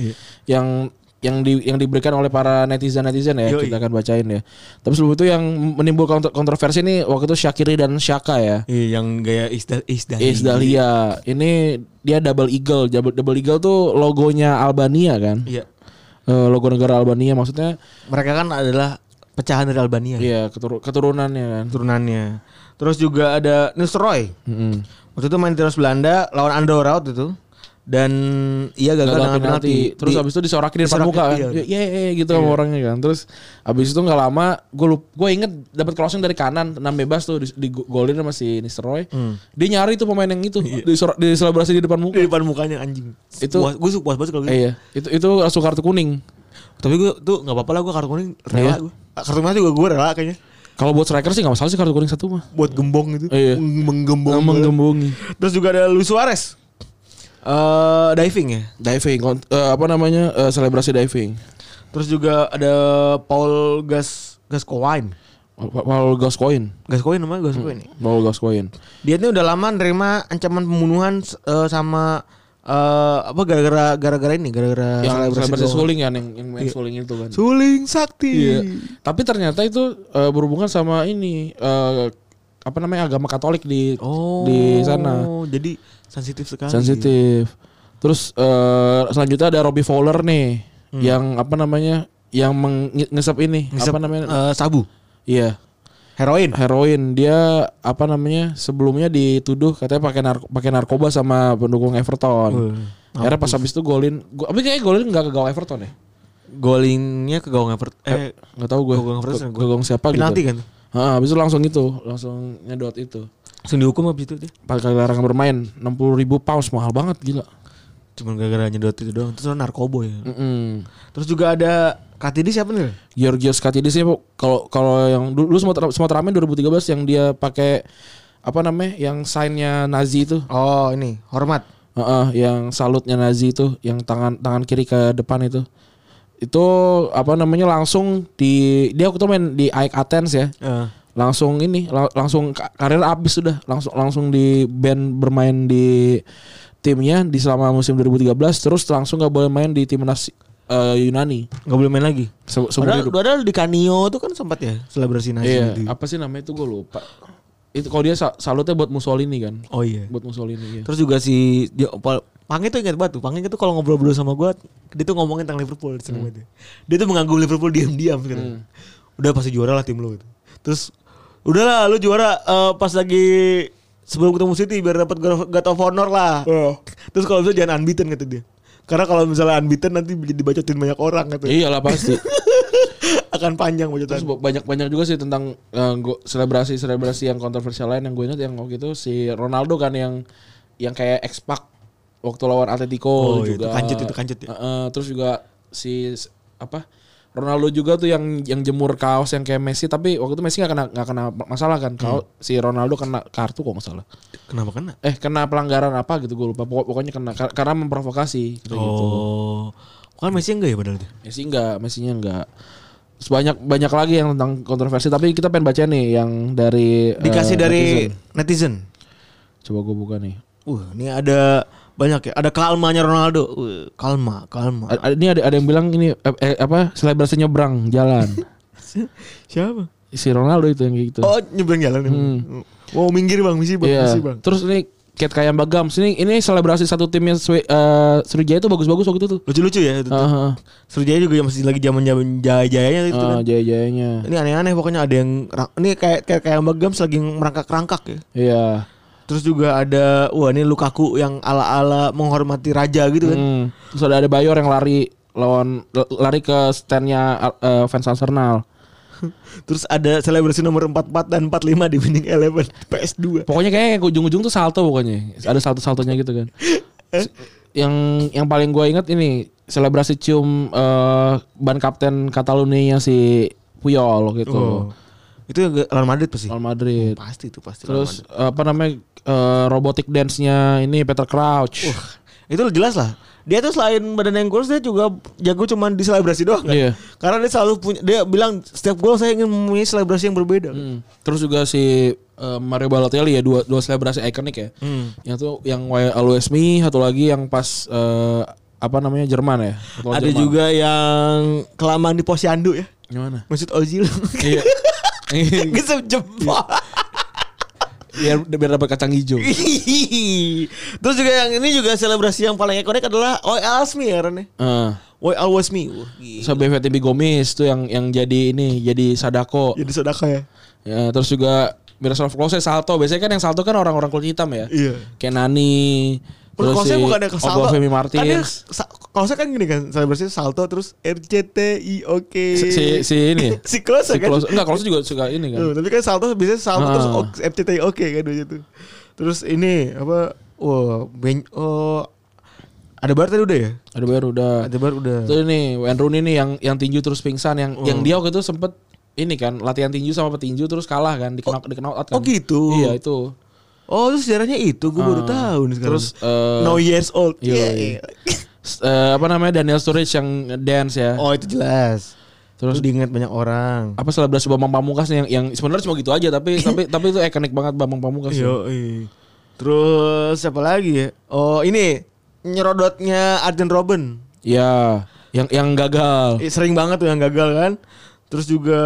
[SPEAKER 2] Yang yang di yang diberikan oleh para netizen-netizen ya
[SPEAKER 3] Yoi.
[SPEAKER 2] kita akan bacain ya. Tapi sebelum itu yang menimbulkan kontro- kontroversi ini waktu itu Syakiri dan Syaka ya.
[SPEAKER 3] Iya, yang gaya Isdal Isdal.
[SPEAKER 2] Isdalia ini dia double eagle. Double, double eagle tuh logonya Albania kan.
[SPEAKER 3] Iya.
[SPEAKER 2] Eh, logo negara Albania maksudnya
[SPEAKER 3] Mereka kan adalah pecahan dari Albania.
[SPEAKER 2] iya ketur- keturunannya kan.
[SPEAKER 3] Turunannya. Terus juga ada Nils Roy.
[SPEAKER 2] Mm-mm.
[SPEAKER 3] Waktu itu main di timnas Belanda lawan Andorra waktu itu. Dan ia gagal,
[SPEAKER 2] gagal
[SPEAKER 3] dengan penalti.
[SPEAKER 2] Kan Terus
[SPEAKER 3] Di-
[SPEAKER 2] habis itu disorakin di depan
[SPEAKER 3] disorakin,
[SPEAKER 2] muka kan.
[SPEAKER 3] iya.
[SPEAKER 2] Iya, iya, iya, gitu sama orangnya kan. Terus habis itu nggak lama gue gue inget dapat crossing dari kanan, tenang bebas tuh di, di golin sama si Nisroy. Dia nyari tuh pemain yang itu disor- diselebrasi di depan
[SPEAKER 3] di
[SPEAKER 2] muka.
[SPEAKER 3] depan mukanya anjing.
[SPEAKER 2] Itu-
[SPEAKER 3] gue suka puas banget kalau gitu.
[SPEAKER 2] Eh, iya, itu itu langsung kartu kuning.
[SPEAKER 3] Tapi gue tuh nggak apa-apa lah gue kartu kuning
[SPEAKER 2] Iya.
[SPEAKER 3] rela gue. Kartu merah juga gue rela kayaknya.
[SPEAKER 2] Kalau buat striker sih nggak masalah sih kartu kuning satu mah.
[SPEAKER 3] Buat gembong gitu.
[SPEAKER 2] Iya.
[SPEAKER 3] Meng- Menggembong.
[SPEAKER 2] Emang gembungi.
[SPEAKER 3] Terus juga ada Luis Suarez. Eh, diving ya.
[SPEAKER 2] Diving, kont- eh, apa namanya eh, selebrasi diving.
[SPEAKER 3] Terus juga ada Paul Gas Gascoigne.
[SPEAKER 2] Pa- Paul Gascoigne,
[SPEAKER 3] Gascoigne namanya Gascoigne.
[SPEAKER 2] Paul Gascoigne.
[SPEAKER 3] Dia ini udah lama nerima ancaman pembunuhan eh, sama eh, apa gara-gara gara-gara ini gara-gara
[SPEAKER 2] Yang selebrasi
[SPEAKER 3] doang.
[SPEAKER 2] suling kan, yang yang main suling itu kan.
[SPEAKER 3] Suling Sakti.
[SPEAKER 2] Iya. Tapi ternyata itu eh, berhubungan sama ini eh, apa namanya agama Katolik di
[SPEAKER 3] Oh.
[SPEAKER 2] di sana.
[SPEAKER 3] Jadi sensitif sekali.
[SPEAKER 2] Sensitif. Terus eh, selanjutnya ada Robbie Fowler nih
[SPEAKER 3] Hmm.
[SPEAKER 2] yang apa namanya yang meng- nge- ngisep ini apa namanya?
[SPEAKER 3] Eh, sabu.
[SPEAKER 2] iya,
[SPEAKER 3] Heroin.
[SPEAKER 2] heroin. Dia apa namanya? Sebelumnya dituduh katanya pakai narko- pakai narkoba sama pendukung Everton. Akhirnya pas habis itu golin, go- tapi kayaknya golin nggak ke gawang Everton ya?
[SPEAKER 3] Golingnya ke gawang Everton. Eh,
[SPEAKER 2] Nggak tahu gue.
[SPEAKER 3] Ke gawang Everton,
[SPEAKER 2] Ke-
[SPEAKER 3] gua-
[SPEAKER 2] ke gawang siapa
[SPEAKER 3] penalti
[SPEAKER 2] gitu.
[SPEAKER 3] kan.
[SPEAKER 2] Ah, habis itu langsung itu, langsung nyedot itu.
[SPEAKER 3] Langsung dihukum habis itu dia.
[SPEAKER 2] Empat kali larangan bermain, 60 ribu pounds mahal banget gila.
[SPEAKER 3] Cuman gara-gara nyedot itu doang. Terus narkoba ya.
[SPEAKER 2] Hmm. Mm-mm.
[SPEAKER 3] Terus juga ada Katidi siapa nih?
[SPEAKER 2] Georgios Katidis ini kalau kalau yang dulu dulu Sumatera Sumatera Amin 2013 yang dia pakai apa namanya yang signnya Nazi itu,
[SPEAKER 3] Oh, ini hormat.
[SPEAKER 2] Heeh, yang salutnya Nazi itu, yang tangan tangan kiri ke depan itu. Itu apa namanya langsung di dia waktu itu main di Aik Athens ya.
[SPEAKER 3] Eh,
[SPEAKER 2] Langsung ini la- langsung ka- karir abis sudah, langsung langsung di band bermain di timnya di selama musim 2013 terus langsung nggak boleh main di timnas eh, Yunani
[SPEAKER 3] Gak boleh main lagi.
[SPEAKER 2] se seumur
[SPEAKER 3] Padahal,
[SPEAKER 2] hidup.
[SPEAKER 3] padahal di Kanio tuh kan sempat ya selebrasi
[SPEAKER 2] Iya,
[SPEAKER 3] nasional. gitu.
[SPEAKER 2] apa sih namanya itu gue lupa. Itu kalau dia sa- salutnya buat Mussolini kan.
[SPEAKER 3] Oh iya.
[SPEAKER 2] Buat Mussolini ya.
[SPEAKER 3] Terus juga si dia Pal- Pange tuh ingat banget tuh. Pange tuh kalau ngobrol-ngobrol sama gue, dia tuh ngomongin tentang Liverpool. seneng banget Dia. dia tuh mengganggu Liverpool diam-diam. gitu. Udah pasti juara lah tim lu. Gitu. Terus udahlah lu juara eh, pas lagi sebelum ketemu City biar dapat God of- God of Honor lah. Terus kalau bisa jangan unbeaten kata dia. Karena kalau misalnya unbeaten nanti dibacotin banyak orang kata.
[SPEAKER 2] Iya lah pasti.
[SPEAKER 3] Akan panjang
[SPEAKER 2] Terus
[SPEAKER 3] bacotan.
[SPEAKER 2] banyak-banyak juga sih tentang eh, gua- selebrasi-selebrasi yang kontroversial lain yang gue ingat yang waktu itu si Ronaldo kan yang yang kayak expak waktu lawan Atletico
[SPEAKER 3] Oh, iya,
[SPEAKER 2] juga.
[SPEAKER 3] itu kancut, itu kancut ya.
[SPEAKER 2] Eh, eh, terus juga si s- apa Ronaldo juga tuh yang yang jemur kaos yang kayak Messi tapi waktu itu Messi nggak kena nggak kena masalah
[SPEAKER 3] Hmm.
[SPEAKER 2] kan kalau si Ronaldo kena kartu kok nggak salah
[SPEAKER 3] Kenapa kena?
[SPEAKER 2] eh kena pelanggaran apa gitu gue lupa Pokok- pokoknya kena kar- karena memprovokasi gitu
[SPEAKER 3] Oh. Kan Messi enggak ya padahal itu?
[SPEAKER 2] Messi enggak, Messinya enggak. Terus banyak banyak lagi yang tentang kontroversi tapi kita pengen baca nih yang dari
[SPEAKER 3] Dikasih
[SPEAKER 2] eh,
[SPEAKER 3] dari
[SPEAKER 2] netizen.
[SPEAKER 3] netizen.
[SPEAKER 2] Coba gue buka nih.
[SPEAKER 3] Wah, ini ada banyak ya. Ada kalmanya Ronaldo. Wah, kalma, kalma.
[SPEAKER 2] A- a- ini ada ada yang bilang ini eh, eh, apa selebrasi nyebrang jalan.
[SPEAKER 3] Siapa?
[SPEAKER 2] si Ronaldo itu yang kayak gitu.
[SPEAKER 3] Oh, nyebrang jalan. Hmm. Wow, minggir bang, misi bang,
[SPEAKER 2] Hmm. Iya.
[SPEAKER 3] misi bang.
[SPEAKER 2] Terus ini Cat Kayam Bagam. Sini ini selebrasi satu timnya Swe- eh, Sriwijaya itu bagus-bagus waktu itu tuh.
[SPEAKER 3] Lucu-lucu ya. itu.
[SPEAKER 2] Heeh. Ah,
[SPEAKER 3] Sriwijaya juga yang masih lagi zaman zaman jaya-jayanya itu kan.
[SPEAKER 2] jaya-jayanya.
[SPEAKER 3] Ini aneh-aneh pokoknya ada yang ra- ini kayak kayak kayak Mbak Gams lagi merangkak-rangkak ya.
[SPEAKER 2] Iya.
[SPEAKER 3] Terus juga ada wah ini Lukaku yang ala-ala menghormati raja gitu kan.
[SPEAKER 2] Hmm. Terus ada ada Bayor yang lari lawan lari ke standnya eh, fans Arsenal.
[SPEAKER 3] Terus ada selebrasi nomor 44 dan 45 di Winning Eleven PS2.
[SPEAKER 2] Pokoknya kayaknya yang ujung-ujung tuh salto pokoknya. Ada salto-saltonya gitu kan.
[SPEAKER 3] Eh?
[SPEAKER 2] S- yang yang paling gue ingat ini selebrasi cium eh, ban kapten Katalunia si Puyol gitu.
[SPEAKER 3] Itu yang lawan Madrid pasti.
[SPEAKER 2] Real Madrid.
[SPEAKER 3] Pasti itu pasti. lawan
[SPEAKER 2] Terus apa namanya eh, robotic dance-nya ini Peter Crouch.
[SPEAKER 3] itu jelas lah dia tuh selain badan yang kurus dia juga jago cuman di selebrasi doang kan?
[SPEAKER 2] Iya.
[SPEAKER 3] karena dia selalu punya dia bilang setiap gol saya ingin mempunyai selebrasi yang berbeda kan?
[SPEAKER 2] Hmm. Terus juga si eh, Mario Balotelli ya dua dua selebrasi ikonik ya.
[SPEAKER 3] Hmm.
[SPEAKER 2] Yang tuh yang Why Always Me, satu lagi yang pas eh, apa namanya Jerman ya. Satu lawan
[SPEAKER 3] ada
[SPEAKER 2] Jerman.
[SPEAKER 3] juga yang kelamaan di posyandu ya
[SPEAKER 2] Gimana?
[SPEAKER 3] maksud Ozil
[SPEAKER 2] Iya.
[SPEAKER 3] Gesep jempol
[SPEAKER 2] biar biar dapat kacang hijau.
[SPEAKER 3] Terus juga yang ini juga selebrasi yang paling ikonik adalah Oi Always Me ya Ren, ya.
[SPEAKER 2] Heeh.
[SPEAKER 3] Oi Always Me Wah, gila.
[SPEAKER 2] Sampai Fetty Gomis tuh yang yang jadi ini jadi Sadako.
[SPEAKER 3] Jadi sedekah ya
[SPEAKER 2] Ya, terus juga Miroslav Klose salto. Biasanya kan yang salto kan orang-orang kulit hitam ya.
[SPEAKER 3] Iya
[SPEAKER 2] Kayak Nani.
[SPEAKER 3] Terus kalau saya bukan ada ke salto.
[SPEAKER 2] Femi
[SPEAKER 3] Kan dia
[SPEAKER 2] Martins.
[SPEAKER 3] sa- kalau saya kan gini kan, selebrasi salto terus RCTI oke.
[SPEAKER 2] Si, si, si ini.
[SPEAKER 3] si Klose
[SPEAKER 2] Si
[SPEAKER 3] kan.
[SPEAKER 2] Klose. Enggak, Klose juga suka ini kan.
[SPEAKER 3] Tuh, tapi kan salto biasanya salto terus
[SPEAKER 2] Ah.
[SPEAKER 3] ok- RCTI oke kan gitu. Terus ini apa wah ben oh ada bar tadi udah ya?
[SPEAKER 2] Ada baru udah.
[SPEAKER 3] Ada bar udah.
[SPEAKER 2] Terus ini Wayne Rooney nih yang yang tinju terus pingsan yang
[SPEAKER 3] Oh.
[SPEAKER 2] yang dia waktu itu sempet ini kan latihan tinju sama petinju terus kalah kan dikenal oh, out kan.
[SPEAKER 3] oh gitu.
[SPEAKER 2] Iya itu.
[SPEAKER 3] Oh, terus sejarahnya itu gue baru
[SPEAKER 2] Ah.
[SPEAKER 3] tahu nih sekarang.
[SPEAKER 2] Terus eh,
[SPEAKER 3] no years old.
[SPEAKER 2] Iya,
[SPEAKER 3] Iya,
[SPEAKER 2] iya.
[SPEAKER 3] iya.
[SPEAKER 2] s- eh, apa namanya Daniel Sturridge yang dance ya.
[SPEAKER 3] Oh, itu jelas.
[SPEAKER 2] Terus
[SPEAKER 3] Terus diingat banyak orang.
[SPEAKER 2] apa selebrasi Bambang Pamungkas nih yang yang sebenarnya cuma gitu aja tapi tapi tapi itu ikonik banget Bambang Pamungkas. ya.
[SPEAKER 3] Yo, terus siapa lagi ya? Oh ini nyerodotnya Arjen Robben.
[SPEAKER 2] Ya, yang yang gagal.
[SPEAKER 3] Eh, Sering banget tuh yang gagal kan. Terus juga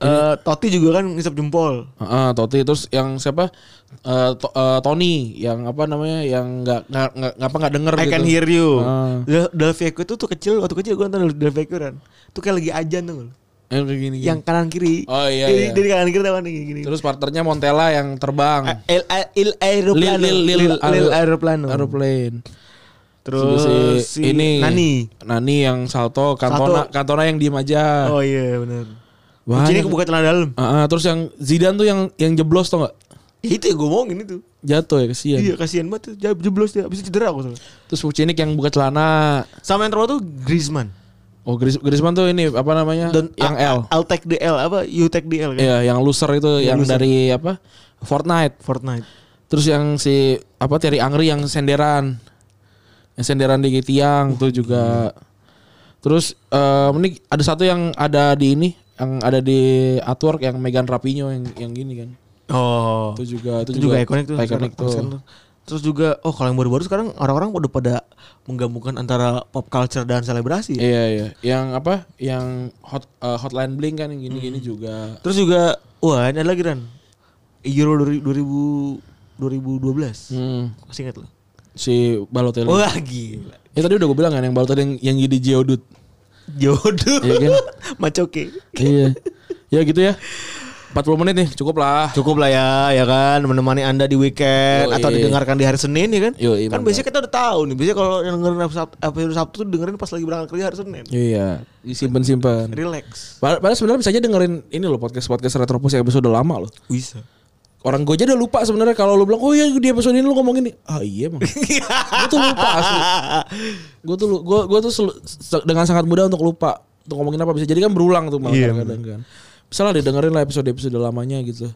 [SPEAKER 3] eh, Totti juga kan ngisap jempol.
[SPEAKER 2] Heeh, Totti terus yang siapa? Eh, To- eh, Tony yang apa namanya yang nggak nggak nggak apa nggak denger
[SPEAKER 3] I
[SPEAKER 2] gitu.
[SPEAKER 3] can hear you.
[SPEAKER 2] Ah.
[SPEAKER 3] Del Del Vecchio itu tuh kecil waktu kecil gue nonton Del Vecchio kan. Tuh kayak lagi ajan tuh.
[SPEAKER 2] Yang kayak gini, gini.
[SPEAKER 3] Yang kanan kiri.
[SPEAKER 2] Iya. Oh, iya,
[SPEAKER 3] Jadi
[SPEAKER 2] iya.
[SPEAKER 3] dari kanan kiri tahu nih gini.
[SPEAKER 2] Terus partnernya Montella yang terbang.
[SPEAKER 3] Il, il aeroplano.
[SPEAKER 2] Lil- lil- lil-
[SPEAKER 3] Lil aeroplano.
[SPEAKER 2] Aeroplane.
[SPEAKER 3] Terus
[SPEAKER 2] Juga
[SPEAKER 3] si Nani.
[SPEAKER 2] Nani yang salto, Cantona,
[SPEAKER 3] Salto.
[SPEAKER 2] Cantona yang diem aja.
[SPEAKER 3] Oh iya benar.
[SPEAKER 2] Banyak.
[SPEAKER 3] Kuncinya kebuka celana dalam.
[SPEAKER 2] Ah, ah, terus yang Zidane tuh yang yang jeblos tau gak?
[SPEAKER 3] Ya, itu yang gue omongin itu.
[SPEAKER 2] Jatuh ya kesian.
[SPEAKER 3] Iya kasihan banget tuh, jab- jeblos dia habis itu cedera aku salah.
[SPEAKER 2] Terus Pucinik yang buka celana.
[SPEAKER 3] Sama yang terbaru tuh Griezmann.
[SPEAKER 2] Oh Gris- Griezmann tuh ini apa namanya?
[SPEAKER 3] Don't-
[SPEAKER 2] yang
[SPEAKER 3] I-
[SPEAKER 2] L.
[SPEAKER 3] I'll take the L apa you take the L kan?
[SPEAKER 2] Iya, yang loser itu yang
[SPEAKER 3] loser.
[SPEAKER 2] dari apa? Fortnite.
[SPEAKER 3] Fortnite.
[SPEAKER 2] Terus yang si apa Thierry Angri yang senderan. Yang senderan di tiang tuh juga. Terus eh ini ada satu yang ada di ini yang ada di artwork yang Megan Rapinoe yang yang gini kan.
[SPEAKER 3] Oh.
[SPEAKER 2] Itu juga
[SPEAKER 3] Itu juga ikonik tuh.
[SPEAKER 2] Ikonik tuh.
[SPEAKER 3] Sekarang- Terus juga oh kalau yang baru-baru sekarang orang-orang udah pada menggabungkan antara pop culture dan selebrasi. ya.
[SPEAKER 2] Iya iya, yang apa? Yang hot eh, hotline bling kan yang
[SPEAKER 3] Hmm.
[SPEAKER 2] gini-gini juga.
[SPEAKER 3] Terus juga wah ini ada lagi Ran. Euro 2000 2012.
[SPEAKER 2] Hmm,
[SPEAKER 3] Masih ingat lo?
[SPEAKER 2] si Balotelli.
[SPEAKER 3] Wah gila.
[SPEAKER 2] Ya tadi udah gue bilang kan yang Balotelli yang, yang jadi Geodut.
[SPEAKER 3] Jodoh.
[SPEAKER 2] Iya kan?
[SPEAKER 3] Macoke.
[SPEAKER 2] iya. Ya gitu ya. 40 menit nih, cukup lah.
[SPEAKER 3] Cukup lah ya, ya kan menemani Anda di weekend
[SPEAKER 2] Yoi.
[SPEAKER 3] atau didengarkan di hari Senin ya kan?
[SPEAKER 2] Yoi,
[SPEAKER 3] kan
[SPEAKER 2] mantap.
[SPEAKER 3] biasanya kita udah tahu nih. Biasanya kalau yang dengerin Sabtu, episode Sabtu tuh dengerin pas lagi berangkat kerja hari Senin.
[SPEAKER 2] Iya, disimpan-simpan.
[SPEAKER 3] Relax.
[SPEAKER 2] Pad- Padahal sebenarnya bisa aja dengerin ini loh podcast-podcast Retropus yang episode lama loh.
[SPEAKER 3] Bisa.
[SPEAKER 2] Orang gue aja udah lupa sebenarnya kalau lu bilang, "Oh iya di episode ini lu ngomong ini." Ah iya, Bang. gue tuh lupa asli. Gue tuh lu- gua gua tuh sel- se- dengan sangat mudah untuk lupa untuk ngomongin apa bisa jadi kan berulang tuh malah
[SPEAKER 3] Iya,
[SPEAKER 2] kadang-kadang kan. Bisa lah didengerin lah episode-episode lamanya gitu.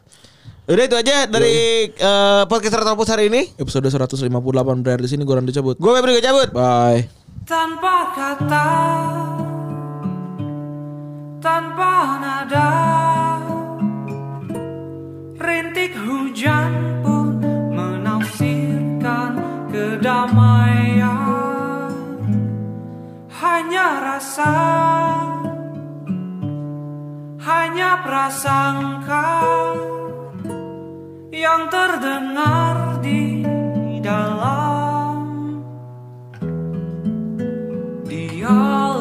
[SPEAKER 3] Udah itu aja dari eh, podcast Retropus hari ini.
[SPEAKER 2] Episode 158 berakhir di sini gue Randy cabut.
[SPEAKER 3] Gue Febri gua cabut.
[SPEAKER 2] Bye.
[SPEAKER 5] tanpa kata, tanpa nada. Rintik hujan pun menafsirkan kedamaian. Hanya rasa, hanya prasangka yang terdengar di dalam The all